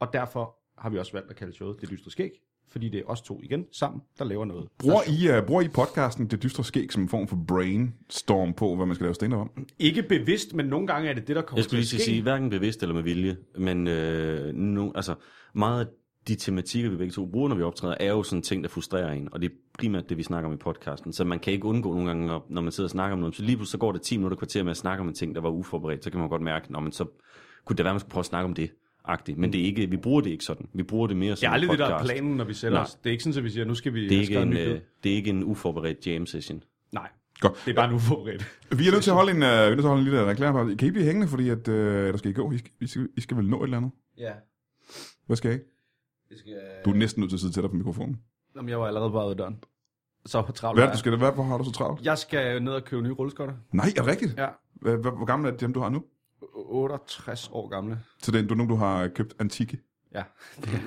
Speaker 3: og derfor har vi også valgt at kalde showet Det Dystre Skæg, fordi det er os to igen sammen, der laver noget.
Speaker 1: Bruger
Speaker 3: Altså-
Speaker 1: I, uh, bruger I podcasten Det Dystre Skæg som en form for brainstorm på, hvad man skal lave stand om?
Speaker 3: Ikke bevidst, men nogle gange er det det, der kommer
Speaker 2: Jeg skulle
Speaker 3: til
Speaker 2: lige
Speaker 3: at ske.
Speaker 2: sige, hverken bevidst eller med vilje, men øh, nu, altså, meget af de tematikker, vi begge to bruger, når vi optræder, er jo sådan ting, der frustrerer en, og det er primært det, vi snakker om i podcasten. Så man kan ikke undgå nogle gange, når- når man sidder og snakker om noget, så lige pludselig så går det 10 minutter kvarter med at snakke om en ting, der var uforberedt, så kan man godt mærke, når man så kunne det være, man skulle prøve at snakke om det. Agtigt. Men det er ikke, vi bruger det ikke sådan. Vi bruger det mere
Speaker 3: Det
Speaker 2: som
Speaker 3: er aldrig
Speaker 2: en
Speaker 3: det, der er
Speaker 2: podcast.
Speaker 3: planen, når vi sælger
Speaker 2: Nej.
Speaker 3: os. Det er ikke sådan, at vi siger, nu skal vi
Speaker 2: Det er, ikke en,
Speaker 3: en,
Speaker 2: øh, det er ikke en uforberedt jam session.
Speaker 3: Nej,
Speaker 1: Godt.
Speaker 3: det er bare en uforberedt.
Speaker 1: Vi er nødt til at holde en, uh, vi er nødt til at holde en lille reklame. Kan I blive hængende, fordi at, uh, der skal I gå? I skal, I, skal, I skal vel nå et eller andet?
Speaker 3: ja,
Speaker 1: Hvad skal I?
Speaker 3: det skal...
Speaker 1: Du er næsten nødt til at sidde tættere på mikrofonen.
Speaker 3: Jamen, jeg var allerede bare ude af døren. Så travlt
Speaker 1: Hvad er det,
Speaker 3: var
Speaker 1: du skal? Hvad, hvor har du så travlt?
Speaker 3: jeg. Jeg skal ned og købe nye rulleskotter.
Speaker 1: Nej, er det rigtigt?
Speaker 3: Ja,
Speaker 1: Hvad, hvad, hvor gammel er dem, du har nu?
Speaker 3: 68 år gamle.
Speaker 1: Så det er nogen, du har købt antikke.
Speaker 3: Ja, det er,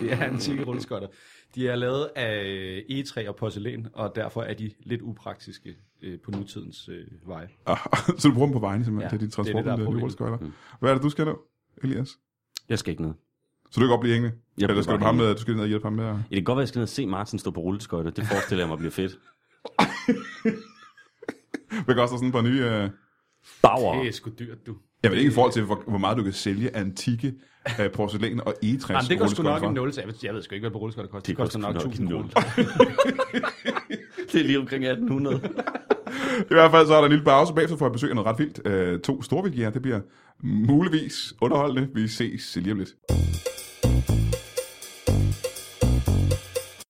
Speaker 3: det er antikke rulleskotter. De er lavet af egetræ og porcelæn, og derfor er de lidt upraktiske øh, på nutidens øh, veje.
Speaker 1: Ah, så du bruger dem på vejen, simpelthen, ja,
Speaker 3: Ja,
Speaker 1: til din
Speaker 3: det er det,
Speaker 1: transport,
Speaker 3: der er
Speaker 1: det, det,
Speaker 3: problemet. Mm.
Speaker 1: rulleskøjler. Hvad er det, du skal nå, Elias?
Speaker 2: Jeg skal ikke ned.
Speaker 1: Så du kan godt blive hængende?
Speaker 2: bliver
Speaker 1: Eller skal
Speaker 2: bare
Speaker 1: du, ham med, du skal ned og hjælpe ham med? at-
Speaker 2: Ja, Det kan godt være, at jeg skal ned og se Martin stå på rulleskøjter. Det forestiller jeg mig bliver fedt.
Speaker 1: Hvad koster sådan på ny... Uh...
Speaker 2: Bauer.
Speaker 3: Det er sgu dyrt, du.
Speaker 1: Jeg ved ikke i forhold til, hvor, hvor meget du kan sælge antikke uh, porcelæn og egetræs
Speaker 3: Jamen, det koster sgu nok
Speaker 1: rulleskøjter
Speaker 3: en
Speaker 1: for.
Speaker 3: nul, så jeg ved, jeg ved sgu ikke, hvad rulleskotter koster.
Speaker 2: Det
Speaker 3: Det koster
Speaker 2: koster
Speaker 3: nok
Speaker 2: sgu nok
Speaker 3: 1000
Speaker 2: en nul.
Speaker 3: kroner.
Speaker 2: Det er lige omkring 1800.
Speaker 1: I hvert fald så er der en lille pause bagefter for at besøge noget ret vildt. Øh, to storvildjæger, det bliver muligvis underholdende. Vi ses lige om lidt.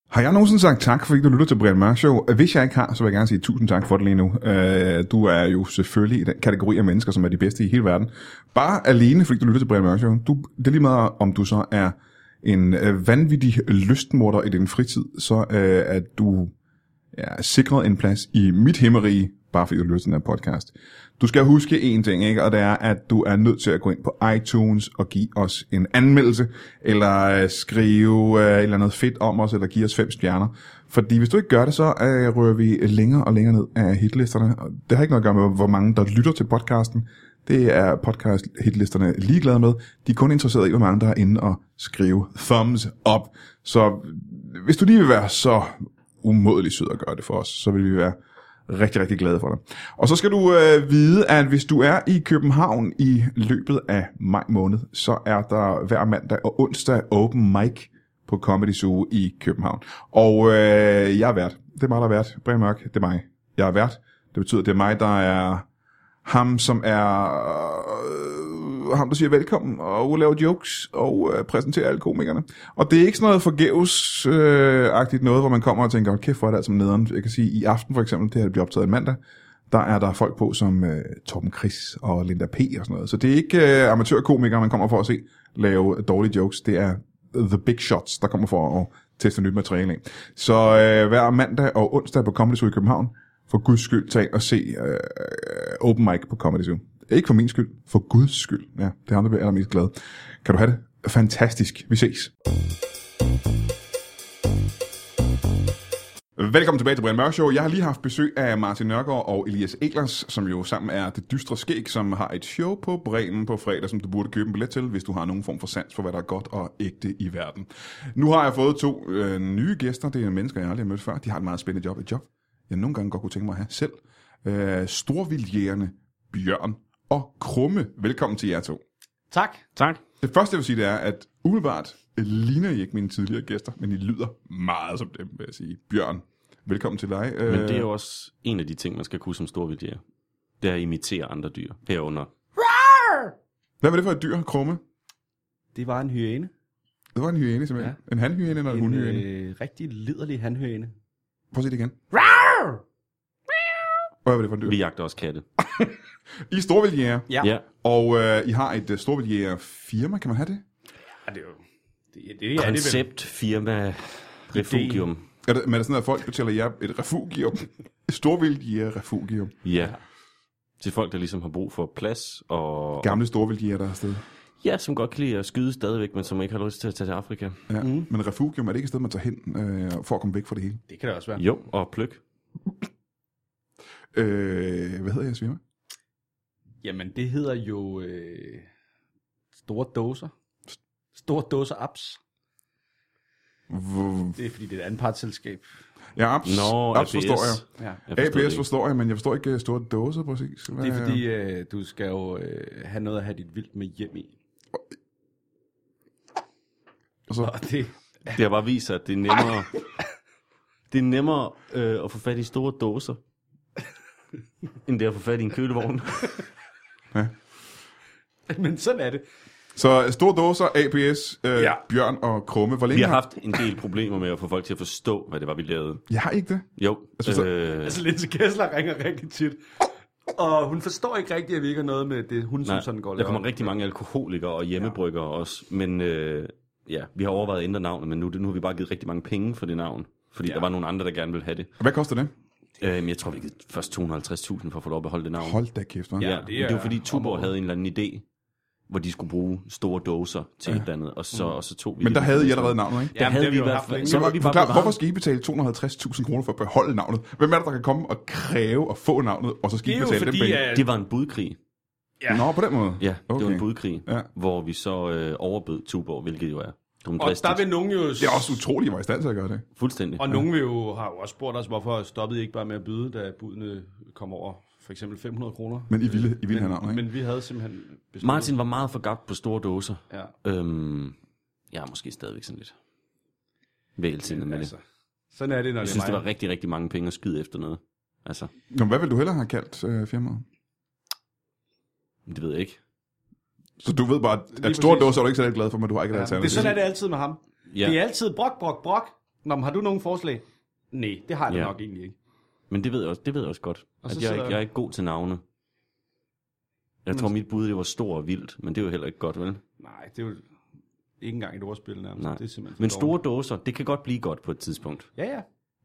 Speaker 1: Har jeg nogensinde sagt tak, fordi du lytter til Brian Mørk Show? Hvis jeg ikke har, så vil jeg gerne sige tusind tak for det lige nu. Øh, du er jo selvfølgelig i den kategori af mennesker, som er de bedste i hele verden. Bare alene, fordi du lytter til Brian Mørk Show. Du, det er lige meget, om du så er en øh, vanvittig lystmorder i din fritid, så øh, er du er sikret en plads i mit himmerige, bare fordi du lytter til den her podcast. Du skal huske en ting, ikke? og det er, at du er nødt til at gå ind på iTunes og give os en anmeldelse, eller øh, skrive øh, et eller andet fedt om os, eller give os fem stjerner. Fordi hvis du ikke gør det, så øh, rører vi længere og længere ned af hitlisterne. Og Det har ikke noget at gøre med, hvor mange der lytter til podcasten. Det er podcast hitlisterne ligeglade med. De er kun interesserede i, hvor mange der er inde og skrive thumbs up. Så øh, hvis du lige vil være så umådelig sød at gøre det for os, så vil vi være rigtig, rigtig glade for dig. Og så skal du øh, vide, at hvis du er i København i løbet af maj måned, så er der hver mandag og onsdag open mic på Comedy Zoo i København. Og øh, jeg er vært. Det er mig, der er vært. Brian Mørk, det er mig. Jeg er vært. Det betyder, at det er mig, der er ham som er øh, ham der siger velkommen og laver jokes og øh, præsenterer alle komikerne. Og det er ikke sådan noget forgæves øh, agtigt noget, hvor man kommer og tænker, "Hold kæft, hvor er det altså nederen. Jeg kan sige, i aften for eksempel, det her det bliver optaget mandag, der er der folk på som øh, Torben Chris og Linda P. og sådan noget. Så det er ikke øh, amatørkomikere, man kommer for at se lave dårlige jokes. Det er the big shots, der kommer for at teste nyt materiale af. Så øh, hver mandag og onsdag på Comedy Zoo i København, for guds skyld, tag og se øh, open mic på Comedy Zoo. Ikke for min skyld, for guds skyld. Ja, det er ham, der bliver allermest glad. Kan du have det? Fantastisk. Vi ses. Velkommen tilbage til Brian Mørk Show. Jeg har lige haft besøg af Martin Nørgaard og Elias Eglers, som jo sammen er Det Dystre Skæg, som har et show på Bremen på fredag, som du burde købe en billet til, hvis du har nogen form for sans for, hvad der er godt og ægte i verden. Nu har jeg fået to øh, nye gæster. Det er mennesker, jeg aldrig har mødt før. De har et meget spændende job. Et job, jeg nogle gange godt kunne tænke mig at have selv. Øh, Storvildjægerne Bjørn og Krumme. Velkommen til jer to.
Speaker 3: Tak.
Speaker 4: Tak.
Speaker 1: Det første, jeg vil sige, det er, at umiddelbart øh, ligner I ikke mine tidligere gæster, men I lyder meget som dem, vil jeg sige. Bjørn, velkommen til dig. Øh,
Speaker 2: Men det er jo også en af de ting, man skal kunne som storvildjæger. Det er at imitere andre dyr herunder.
Speaker 1: Hvad var det for et dyr, krumme?
Speaker 3: Det var en hyæne.
Speaker 1: Det var en hyæne, simpelthen. Ja. En handhyæne eller en, en
Speaker 3: En
Speaker 1: hundhyæne? Øh...
Speaker 3: øh, rigtig liderlig handhyæne.
Speaker 1: Prøv at se det igen. Hvad var det for et dyr?
Speaker 2: Vi jagter også katte.
Speaker 1: I er storvildjæger,
Speaker 3: Ja.
Speaker 2: Ja.
Speaker 1: og øh, I har et uh, storvildjægerfirma, kan man have det?
Speaker 3: Ja, det er jo... Det, det, det, er det vel.
Speaker 2: Koncept, firma, refugium.
Speaker 1: Er det, men er det sådan, noget, at folk betaler jer et refugium? Et storvildjægerrefugium.
Speaker 2: Ja. Til folk, der ligesom har brug for plads og...
Speaker 1: Gamle storvildjæger, der er afsted.
Speaker 2: Ja, som godt kan lide at skyde stadigvæk, men som ikke har lyst til at tage til Afrika.
Speaker 1: Ja. Mm. Men refugium, er det ikke et sted, man tager hen øh, for at komme væk fra det hele?
Speaker 3: Det kan det også være.
Speaker 2: Jo, og pløk.
Speaker 1: Øh, hvad hedder jeres firma?
Speaker 3: Jamen, det hedder jo øh, store dåser. Store dåser apps.
Speaker 1: V-
Speaker 3: Det er fordi, det er et andet partsselskab.
Speaker 1: Ja, apps,
Speaker 2: Nå,
Speaker 1: apps forstår jeg.
Speaker 3: Ja.
Speaker 2: Jeg forstod det
Speaker 1: APS
Speaker 2: ikke.
Speaker 1: forstår jeg, men jeg forstår ikke øh, store dåser præcis. Hvad,
Speaker 3: Det er fordi, øh, du skal jo øh, have noget at have dit vildt med hjem i.
Speaker 1: Og så,
Speaker 3: Og det,
Speaker 2: Det har bare vist sig, at det er nemmere, det er nemmere øh, at få fat i store dåser, end det at få fat i en kølevogn.
Speaker 3: men sådan er det.
Speaker 1: så øh, store dåser, APS, øh, ja.
Speaker 3: Ja.
Speaker 1: Bjørn og Krumme. Hvor længe
Speaker 2: Vi har haft en del problemer med at få folk til at forstå, hvad det var, vi lavede.
Speaker 1: Jeg har ikke det.
Speaker 2: Jo,
Speaker 1: synes, at-
Speaker 2: øh,
Speaker 3: Altså, Linse Kessler ringer rigtig tit. Og hun forstår ikke rigtigt, at vi ikke har noget med det, hun som sådan går og
Speaker 2: der
Speaker 3: laver.
Speaker 2: kommer rigtig mange alkoholikere og hjemmebryggere også, men øh, ja, vi har overvejet at ændre navnet, men nu, nu har vi bare givet rigtig mange penge for det navn, fordi ja. der var nogle andre, der gerne ville have det.
Speaker 1: Hvad koster det?
Speaker 2: Øh, men jeg tror, vi gav først 250.000 for at få lov at beholde det navn.
Speaker 1: Hold da kæft, hva'?
Speaker 2: Ja,
Speaker 3: Ja,
Speaker 2: ja
Speaker 3: det
Speaker 2: det, det
Speaker 3: er
Speaker 2: var fordi Tuborg havde en eller anden idé, hvor de skulle bruge store dåser til ja. et eller andet, og
Speaker 3: Mm.
Speaker 2: så, og så tog vi
Speaker 1: Men
Speaker 2: det.
Speaker 1: der havde I allerede navnet, ikke?
Speaker 2: Der
Speaker 3: Jamen, det
Speaker 2: havde vi
Speaker 3: har vi
Speaker 2: i
Speaker 3: jo
Speaker 2: hvert
Speaker 3: haft længe.
Speaker 2: fald... Så var vi bare
Speaker 1: Forklar, hvorfor
Speaker 2: bevaret.
Speaker 1: skal I betale 250.000 kroner for at beholde navnet? Hvem er det, der kan komme og kræve at få navnet, og så skal
Speaker 3: Det
Speaker 1: I
Speaker 3: er
Speaker 1: betale
Speaker 3: jo
Speaker 1: dem
Speaker 3: fordi,
Speaker 1: penge?
Speaker 3: at...
Speaker 2: Det var en budkrig.
Speaker 1: Ja. Nå, på den måde?
Speaker 2: Ja, okay. det var
Speaker 1: Okay.
Speaker 2: en budkrig,
Speaker 1: Ja.
Speaker 2: ja. hvor vi så øh, overbød Tuborg, hvilket jo er
Speaker 3: Og
Speaker 2: dumdristigt.
Speaker 3: der vil nogen jo...
Speaker 1: Det er også utroligt, at I var i stand til at gøre det.
Speaker 2: Fuldstændig.
Speaker 3: Og nogen vil jo, har jo også spurgt os, hvorfor stoppede I ikke bare med at byde, da budene kom over for eksempel 500 kroner?
Speaker 1: Men I ville, I ville have navnet, ikke?
Speaker 3: Men vi havde simpelthen besluttet...
Speaker 2: Martin var meget for gabt på store dåser.
Speaker 3: Ja.
Speaker 2: Øhm, jeg er måske stadigvæk sådan lidt vælsindet med det.
Speaker 3: Altså, sådan er det, når
Speaker 2: Jeg
Speaker 3: det
Speaker 2: synes,
Speaker 3: er
Speaker 2: det
Speaker 3: mig.
Speaker 2: var rigtig, rigtig mange penge at skyde efter noget. Altså,
Speaker 1: Nå, men hvad vil du hellere have kaldt øh, firmaet?
Speaker 2: det ved jeg ikke.
Speaker 1: Så du ved bare, at, at
Speaker 3: Lige
Speaker 1: store
Speaker 3: præcis.
Speaker 1: dåser er du ikke særlig glad for, men du har ikke et
Speaker 3: Ja,
Speaker 1: alternativ.
Speaker 3: det er sådan er det altid med ham.
Speaker 2: Ja.
Speaker 3: Ja. Det er altid brok, brok, brok. Nå, men har du nogen forslag? Nej, det har jeg ja.
Speaker 2: Ja.
Speaker 3: nok egentlig ikke.
Speaker 2: Men det ved jeg også, det ved jeg også godt.
Speaker 3: Og
Speaker 2: Og
Speaker 3: så
Speaker 2: at jeg, er
Speaker 3: sidder-
Speaker 2: ikke, jeg er ikke god til navne. Jeg tror, mit bud det var stor og vildt, men det er jo heller ikke godt, vel?
Speaker 3: Nej, det er jo ikke engang et ordspil nærmest.
Speaker 2: Nej.
Speaker 3: Det er simpelthen for
Speaker 2: Men
Speaker 3: dårligt.
Speaker 2: store dåser, det kan godt blive godt på et tidspunkt.
Speaker 3: Ja, ja.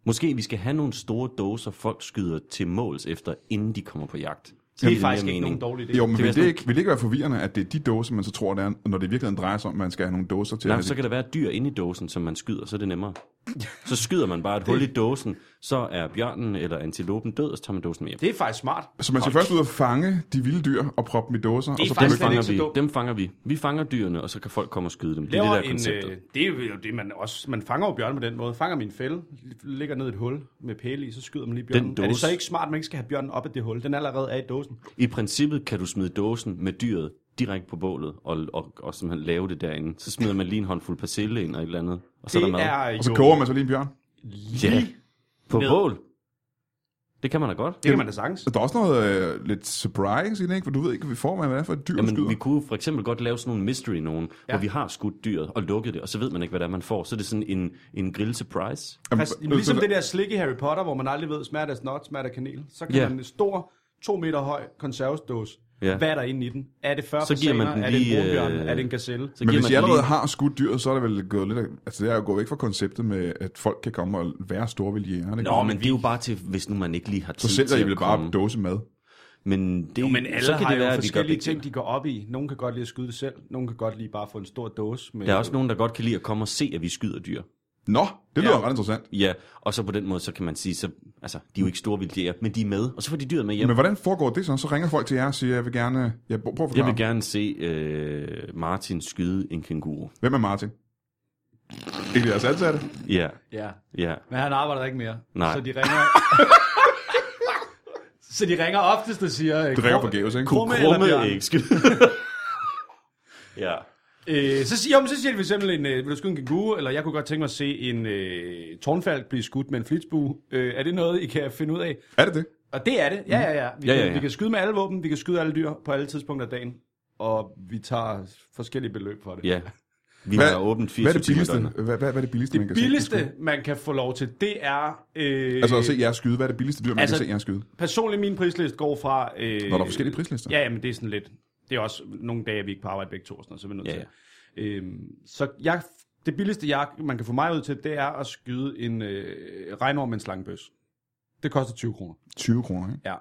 Speaker 2: Måske vi skal have nogle store dåser, folk skyder til måls efter, inden de kommer på jagt. Så
Speaker 3: Det er
Speaker 2: mere
Speaker 3: faktisk ikke
Speaker 2: mening.
Speaker 3: nogen dårlig idé.
Speaker 1: Jo, men
Speaker 2: Det
Speaker 1: det
Speaker 2: vil
Speaker 1: vil,
Speaker 2: jeg
Speaker 1: det
Speaker 2: sådan-
Speaker 1: ikke, vil det ikke være forvirrende, at det er de dåser, man så tror, det er, når det i virkeligheden drejer sig om, at man skal have nogle dåser til? at
Speaker 2: Nej,
Speaker 1: have
Speaker 2: så kan der være et dyr inde i dåsen, som man skyder, så er det nemmere. Så skyder man bare et hul i dåsen, så er bjørnen eller antilopen død, og så tager man dåsen med hjem.
Speaker 3: Det er faktisk smart.
Speaker 1: de- Så man skal først ud og fange de vilde dyr og proppe dem i dåser, og
Speaker 3: er
Speaker 1: så
Speaker 3: faktisk
Speaker 1: prøve
Speaker 2: Dem
Speaker 3: slet
Speaker 2: fanger,
Speaker 3: ikke så dumt.
Speaker 2: vi. Dem fanger vi. Vi fanger dyrene, og så kan folk komme og skyde dem. Det er det,
Speaker 3: Laver
Speaker 2: der er
Speaker 3: en,
Speaker 2: konceptet.
Speaker 3: øh, det er jo det, man også... Man fanger jo bjørn på den måde. Fanger min fælde, ligger ned i et hul med pæle i, så skyder man lige bjørnen. Er det
Speaker 2: dåse-
Speaker 3: så ikke smart, at man ikke skal have bjørnen op af det hul? Den allerede er i dåsen.
Speaker 2: I princippet kan du smide dåsen med dyret direkte på bålet, og, og, og simpelthen lave det derinde. Så smider man lige en håndfuld persille ind og et eller andet, og så er der
Speaker 3: det
Speaker 2: mad.
Speaker 3: er jo...
Speaker 1: Og så koger man så lige en bjørn.
Speaker 2: Ja, på
Speaker 3: ned.
Speaker 2: bål. Det kan man da godt.
Speaker 3: Det kan man da sagtens.
Speaker 1: Der er også noget øh, lidt surprise i det, ikke? For du ved ikke, hvad vi får, hvad det er for et dyr, Jamen,
Speaker 2: Jamen,
Speaker 1: skyder.
Speaker 2: vi kunne for eksempel godt lave sådan nogle mystery nogen, ja.
Speaker 3: Ja.
Speaker 2: hvor vi har skudt dyret og lukket det, og så ved man ikke, hvad det er, man får. Så er det sådan en, en grill surprise.
Speaker 1: Jamen,
Speaker 3: Præcis, ligesom
Speaker 1: øh,
Speaker 3: det der slik i Harry Potter, hvor man aldrig ved, smager det af snot, smager det af kanel. Så kan
Speaker 2: Ja.
Speaker 3: man en stor, to meter høj konservesdåse.
Speaker 2: Ja.
Speaker 3: Hvad er der inde i den? Er det 40
Speaker 2: Så giver man den
Speaker 3: fasaner? Er det en
Speaker 2: lige,
Speaker 3: brunbjørn?
Speaker 2: øh,
Speaker 3: Er det en gazelle?
Speaker 2: Så
Speaker 1: Men
Speaker 2: giver
Speaker 1: hvis
Speaker 2: man
Speaker 1: I
Speaker 2: den
Speaker 1: allerede
Speaker 2: lige-
Speaker 1: har skudt dyret, så er det vel gået lidt af, Altså, det er jo gået væk fra konceptet med, at folk kan komme og være store ved jægerne. ikke?
Speaker 2: Nå, men det er jo bare til, hvis nu man ikke lige har tid
Speaker 1: Så sælger
Speaker 2: til
Speaker 1: I vel
Speaker 2: at
Speaker 1: bare
Speaker 2: komme.
Speaker 1: dåse mad.
Speaker 2: Men, det,
Speaker 3: Jo, men alle
Speaker 2: så kan
Speaker 3: har
Speaker 2: det være, at
Speaker 3: jo
Speaker 2: de gør
Speaker 3: forskellige
Speaker 2: begge
Speaker 3: ting,
Speaker 2: ting.
Speaker 3: de går op i. Nogen kan godt lide at skyde det selv. Nogen kan godt lide bare at få en stor dåse. Med
Speaker 2: Der er også nogen, der godt kan lide at komme og se, at vi skyder dyr.
Speaker 1: Nå, det lyder
Speaker 3: Ja.
Speaker 1: ret interessant.
Speaker 2: Ja, og så på den måde, så kan man sige, så, altså, de er jo ikke store vildjæger, men de er med, og så får de dyret med hjem.
Speaker 1: Men hvordan foregår det så? Så ringer folk til jer og siger, jeg vil gerne... Jeg prøv prøv at
Speaker 2: Jeg
Speaker 1: forklare.
Speaker 2: vil gerne se øh, Martin skyde en kænguru.
Speaker 1: Hvem er Martin? Ikke jeres ansatte?
Speaker 2: Ja,
Speaker 3: Ja,
Speaker 2: ja.
Speaker 3: men han arbejder ikke mere.
Speaker 2: Nej.
Speaker 3: Så de ringer... så de ringer oftest og siger... "Eh,
Speaker 1: Det ringer forgæves, ikke?
Speaker 3: Krumme eller
Speaker 2: Krumme
Speaker 3: bjørn?
Speaker 2: æg skyde. ja.
Speaker 3: Øh, så, siger, jo, men så siger de for eksempel, en, øh, vil du skyde en kænguru, eller jeg kunne godt tænke mig at se en øh, tårnfalk blive skudt med en flitsbue. Øh, er det noget, I kan finde ud af?
Speaker 1: Er det det?
Speaker 3: Og det er det. Ja, ja, ja. Vi,
Speaker 2: Mm. Ja,
Speaker 3: kan,
Speaker 2: ja, ja.
Speaker 3: vi kan skyde med alle våben, vi kan skyde alle dyr på alle tidspunkter af dagen. Og vi tager forskellige beløb for det.
Speaker 2: Ja. Vi
Speaker 1: Hvad-
Speaker 2: har åbent 80
Speaker 1: Hvad er det billigste? Hvad, hvad, hvad er det billigste, man
Speaker 3: Det
Speaker 1: kan se?
Speaker 3: billigste, man kan få lov til, det er... Øh,
Speaker 1: Altså at se jer skyde. Hvad er det billigste dyr, man
Speaker 3: Altså-
Speaker 1: kan se jer skyde?
Speaker 3: Personligt, min prisliste går fra... Øh,
Speaker 1: Når der er forskellige prislister.
Speaker 3: Ja, men det er sådan lidt... Det er også nogle dage, vi ikke på arbejde begge to, og sådan noget, så er vi nødt
Speaker 2: Ja,
Speaker 3: ja, til. Øhm, så jeg, det billigste, jeg, man kan få mig ud til, det er at skyde en øh, regnorm med en slangebøs. Det koster 20 kroner.
Speaker 1: 20 kroner, ikke?
Speaker 3: Ja.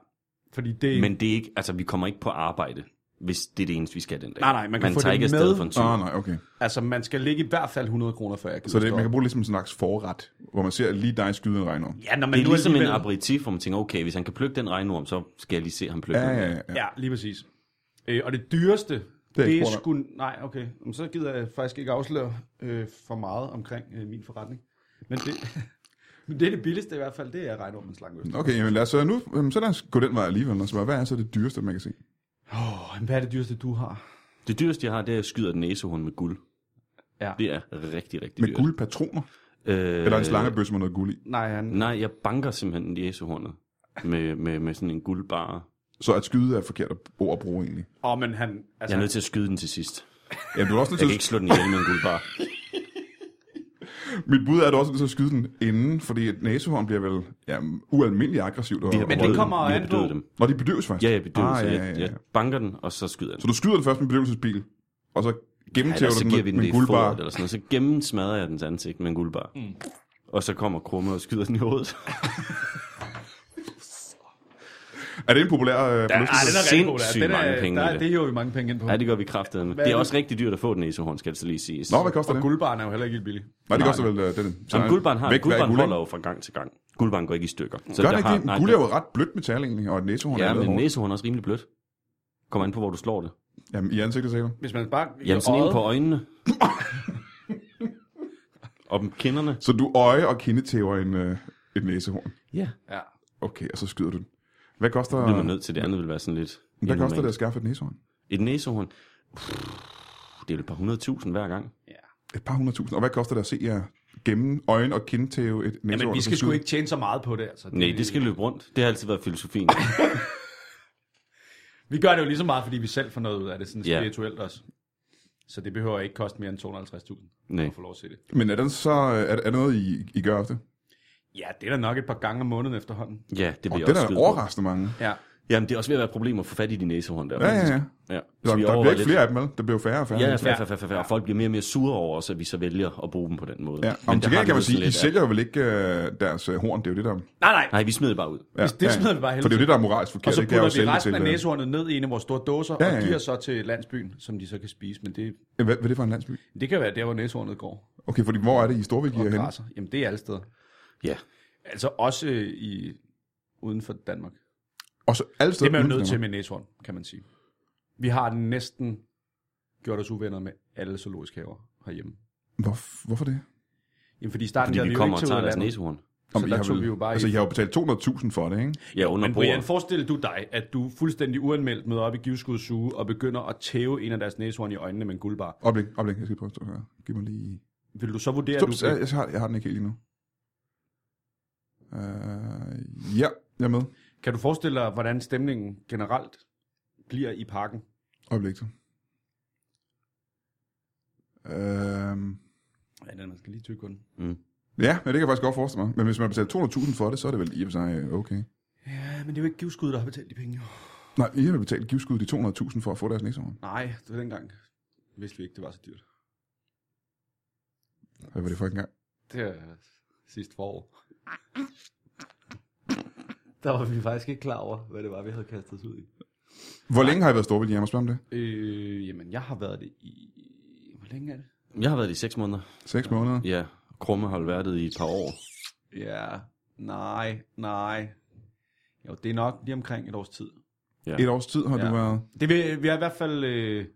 Speaker 3: Fordi det...
Speaker 2: Men det er ikke, altså vi kommer ikke på arbejde, hvis det er det eneste, vi skal den dag.
Speaker 3: Nej, nej, man kan
Speaker 2: man
Speaker 3: få
Speaker 2: tager
Speaker 3: det
Speaker 2: ikke
Speaker 3: med.
Speaker 2: afsted for en tur.
Speaker 1: Ah, nej, okay.
Speaker 3: Altså, man skal ligge i hvert fald 100 kroner, før jeg kan
Speaker 1: Så det,
Speaker 3: forstå.
Speaker 1: man kan bruge det som en slags forret, hvor man ser lige dig skyde en regnorm.
Speaker 3: Ja, når man
Speaker 2: Det er
Speaker 3: nu
Speaker 2: ligesom en
Speaker 3: alligevel-
Speaker 2: aperitif, hvor man tænker, okay, hvis han kan plukke den regnorm, så skal jeg lige se ham plukke
Speaker 1: Ja,
Speaker 2: den.
Speaker 1: ja, ja.
Speaker 3: Ja, lige præcis. Øh, og det dyreste, det er, det er
Speaker 1: eksport.
Speaker 3: sgu... Nej, okay. Jamen, så gider jeg faktisk ikke afsløre øh, for meget omkring øh, min forretning. Men det, men det er det billigste i hvert fald, det er regnormens slangeøst.
Speaker 1: Okay, jamen lad os øh, nu jamen, så lad os gå den vej alligevel. Og så hvad er så det dyreste, man kan se?
Speaker 3: Åh, oh, hvad er det dyreste, du har?
Speaker 2: Det dyreste, jeg har, det er, at jeg skyder den næsehund med guld.
Speaker 3: Ja.
Speaker 2: Det er rigtig, rigtig
Speaker 1: Med
Speaker 2: dyrt.
Speaker 1: guldpatroner?
Speaker 2: Øh,
Speaker 1: Eller en slangebøsse med noget guld i?
Speaker 3: Nej, han...
Speaker 2: Nej, jeg banker simpelthen næsehundet med, med, med sådan en guldbar.
Speaker 1: Så at skyde er et forkert ord at bruge egentlig.
Speaker 3: Åh, oh, men han...
Speaker 2: Jeg
Speaker 3: Altså,
Speaker 2: er nødt til at skyde den til sidst.
Speaker 1: Ja, du er også nødt
Speaker 2: Jeg kan
Speaker 1: til,
Speaker 2: ikke slå den ihjel med en guldbar.
Speaker 1: mit bud er, at du også er nødt til at skyde den inden, fordi et næsehorn bliver vel ja, ualmindelig aggressivt. Og,
Speaker 3: Men det
Speaker 2: Røde,
Speaker 3: kommer
Speaker 2: vi har
Speaker 3: an på-
Speaker 2: bedøvet Dem.
Speaker 1: Når de bedøves først.
Speaker 2: Ja, jeg bedøver, ah,
Speaker 1: ah,
Speaker 2: så
Speaker 1: ja,
Speaker 2: jeg,
Speaker 1: ja, ja.
Speaker 2: jeg banker den, og så skyder jeg den.
Speaker 1: Så du skyder den først med bedøvelsesbil, og så
Speaker 2: Ja,
Speaker 1: gennemtæver
Speaker 2: ellers
Speaker 1: du
Speaker 2: så
Speaker 1: den
Speaker 2: giver vi
Speaker 1: med,
Speaker 2: den
Speaker 1: med
Speaker 2: det
Speaker 1: en
Speaker 2: i
Speaker 1: guldbar.
Speaker 2: foråret eller sådan noget. Så gennemsmadrer jeg dens ansigt med en guldbar. Mm. Og så kommer Krumme og skyder den i hovedet.
Speaker 1: Er det en populær øh, forlystelse?
Speaker 3: ej, den er rigtig god, der.
Speaker 2: sindssygt
Speaker 3: Den er,
Speaker 2: mange penge
Speaker 3: der,
Speaker 2: i det.
Speaker 3: det. er jo mange penge ind på.
Speaker 2: Ja, det gør vi kraftedeme.
Speaker 3: Hvad
Speaker 2: Det er
Speaker 3: er det?
Speaker 2: også rigtig dyrt at få den næsehorn, skal det så lige siges.
Speaker 1: Nå, hvad koster
Speaker 3: Og
Speaker 1: det?
Speaker 3: guldbaren er jo heller ikke helt billig.
Speaker 1: Nej, det koster vel øh, det. det. Så
Speaker 2: Jamen, guldbarn har,
Speaker 1: væk hver
Speaker 2: guldbarn
Speaker 1: guld, ikke?
Speaker 2: holder jo fra gang til gang. Guldbarn går ikke i stykker. Så
Speaker 1: Gør
Speaker 2: der
Speaker 1: det ikke
Speaker 2: har-
Speaker 1: det?
Speaker 2: nej,
Speaker 1: Guld er
Speaker 2: der-
Speaker 1: jo ret blødt metal egentlig, og et næsehorn
Speaker 2: Ja,
Speaker 1: er
Speaker 2: men
Speaker 1: lavet
Speaker 2: en
Speaker 1: hårdt.
Speaker 2: næsehorn er også rimelig blødt. Kommer an på, hvor du slår det.
Speaker 1: Jamen, i ansigtet sikkert.
Speaker 3: Hvis man bare...
Speaker 2: Jamen, sådan en
Speaker 3: øjet-
Speaker 2: på øjnene. og på kinderne.
Speaker 1: Så du øje og kindetæver en, øh, et næsehorn.
Speaker 2: Ja.
Speaker 3: Ja.
Speaker 1: Okay, og så skyder du den. Hvad koster,
Speaker 2: Det er man nødt til. Det andet vil være sådan lidt...
Speaker 1: hvad
Speaker 2: inhumant.
Speaker 1: koster det at skaffe et næsehorn?
Speaker 2: Et næsehorn. Pff, Det er jo et par hundredtusind hver gang.
Speaker 3: ja.
Speaker 1: Et par hundredtusind. Og hvad koster det at se jer gennem øjen og kindtæve et næsehorn?
Speaker 3: Jamen,
Speaker 1: og
Speaker 3: vi
Speaker 1: så
Speaker 3: skal sgu
Speaker 1: skyde?
Speaker 3: ikke tjene så meget på det, altså.
Speaker 2: Nej, det skal løbe rundt. Det har altid været filosofien.
Speaker 3: Vi gør det jo lige så meget, fordi vi selv får noget ud af det, sådan
Speaker 2: Ja.
Speaker 3: spirituelt også. Så det behøver ikke koste mere end 250.000
Speaker 2: Nej.
Speaker 3: at få lov at se det.
Speaker 1: Men er, den så, er, er det noget, I, I gør ofte?
Speaker 3: Ja, det er da nok et par gange om måneden efterhånden.
Speaker 2: Ja, det
Speaker 1: Og
Speaker 2: bliver
Speaker 1: det er
Speaker 2: også
Speaker 1: der
Speaker 2: skide på.
Speaker 1: overraskende mange.
Speaker 3: Ja.
Speaker 2: Jamen, det er også ved at være et problem at få fat i de næsehorn der.
Speaker 1: Ja, ja, ja.
Speaker 2: ja.
Speaker 1: Der,
Speaker 2: Så vi
Speaker 1: der
Speaker 2: overvejer
Speaker 1: bliver
Speaker 2: lidt.
Speaker 1: ikke flere af dem, vel? Der bliver færre og færre.
Speaker 2: Ja, ja,
Speaker 1: hele tiden.
Speaker 2: fair, fair, fair, fair, fair. Og folk bliver mere og mere sure over os, at vi så vælger at bruge dem på den måde.
Speaker 1: ja.
Speaker 2: Men
Speaker 1: Om
Speaker 2: der
Speaker 1: til gengæld
Speaker 2: har vi
Speaker 1: kan
Speaker 2: jo
Speaker 1: man sige,
Speaker 2: sådan
Speaker 1: I
Speaker 2: lidt,
Speaker 1: sælger jo vel ikke øh, deres øh, horn, det er jo det, der... Ja,
Speaker 3: Nej, nej.
Speaker 2: at- Nej, vi smider det bare ud.
Speaker 3: det smider vi bare hele
Speaker 1: For det er jo det,
Speaker 3: tiden.
Speaker 1: der er moralsk forkert.
Speaker 3: Og så
Speaker 1: ikke? Det er jo at
Speaker 3: putter vi
Speaker 1: sælge
Speaker 3: resten af
Speaker 1: til, øh,
Speaker 3: næsehornet ned i en af vores store dåser,
Speaker 1: Ja,
Speaker 3: ja,
Speaker 1: ja,
Speaker 3: ja.
Speaker 1: ja.
Speaker 3: og giver så til landsbyen, som de så kan spise. Men det,
Speaker 1: Hvad, hvad er det for en landsby?
Speaker 3: det kan være der, hvor næsehornet går
Speaker 1: Okay, fordi hvor er det i Storvik, I
Speaker 3: og
Speaker 1: er henne?
Speaker 3: græsser. Jamen, det er alle steder.
Speaker 2: Ja.
Speaker 3: Altså også øh, i, uden for Danmark.
Speaker 1: Og så alle
Speaker 3: Det
Speaker 1: steder
Speaker 3: er man jo
Speaker 1: uden for
Speaker 3: nødt til
Speaker 1: Danmark.
Speaker 3: med næsehorn, kan man sige. Vi har næsten gjort os uvenner med alle zoologiske haver herhjemme.
Speaker 1: Hvor, hvorfor det?
Speaker 3: Jamen, fordi i starten
Speaker 2: Fordi
Speaker 3: havde
Speaker 2: vi
Speaker 3: jo
Speaker 2: kommer
Speaker 3: ikke
Speaker 2: og
Speaker 3: til
Speaker 2: tager deres
Speaker 3: udlandet.
Speaker 2: næsehorn.
Speaker 3: Så
Speaker 1: I
Speaker 3: der
Speaker 1: har
Speaker 3: tog
Speaker 1: vel-
Speaker 3: vi jo bare
Speaker 1: Altså,
Speaker 3: i.
Speaker 1: I har jo betalt 200.000 for det, ikke?
Speaker 2: Ja, under
Speaker 3: Men Brian,
Speaker 2: bordet.
Speaker 3: forestil du dig, at du fuldstændig uanmeldt møder op i Givskuds suge og begynder at tæve en af deres næsehorn i øjnene med en guldbar.
Speaker 1: Oplæg, oplæg. Jeg skal prøve at stå her. Giv mig lige...
Speaker 3: Vil du så vurdere,
Speaker 1: Stop,
Speaker 3: at du...
Speaker 1: jeg, jeg, har, jeg har den ikke helt endnu. Uh, ja, Jeg er med.
Speaker 3: Kan du forestille dig, hvordan stemningen generelt bliver i parken?
Speaker 1: Øjeblik så. Øhm,
Speaker 3: Ja, den man skal lige tykke den.
Speaker 2: Mm.
Speaker 1: ja, men det kan jeg faktisk godt forestille mig. Men hvis man har betalt 200.000 for det, så er det vel i og for sig øh, okay.
Speaker 3: Ja, men det er jo ikke givskud, der har betalt de penge. Jo.
Speaker 1: Nej, I har betalt givskud de 200.000 for at få deres næste år.
Speaker 3: Nej, det var dengang. Vidste vi ikke, det var så dyrt.
Speaker 1: Hvad var det for en gang?
Speaker 3: Det er sidste forår. Der var vi faktisk ikke klar over, hvad det var, vi havde kastet os ud i.
Speaker 1: Hvor længe har I været storvild, jeg må spørge om det?
Speaker 3: Øh, jamen, jeg har været det i... Hvor længe er det?
Speaker 2: Jeg har været det i seks måneder.
Speaker 1: 6 måneder?
Speaker 2: Ja, Krumme har været det i et par år.
Speaker 3: Ja, nej, nej. Jo, det er nok lige omkring et års tid.
Speaker 1: Et års tid har
Speaker 3: Ja.
Speaker 1: du været...
Speaker 3: Det, vi, vi har i hvert fald... Øh, vi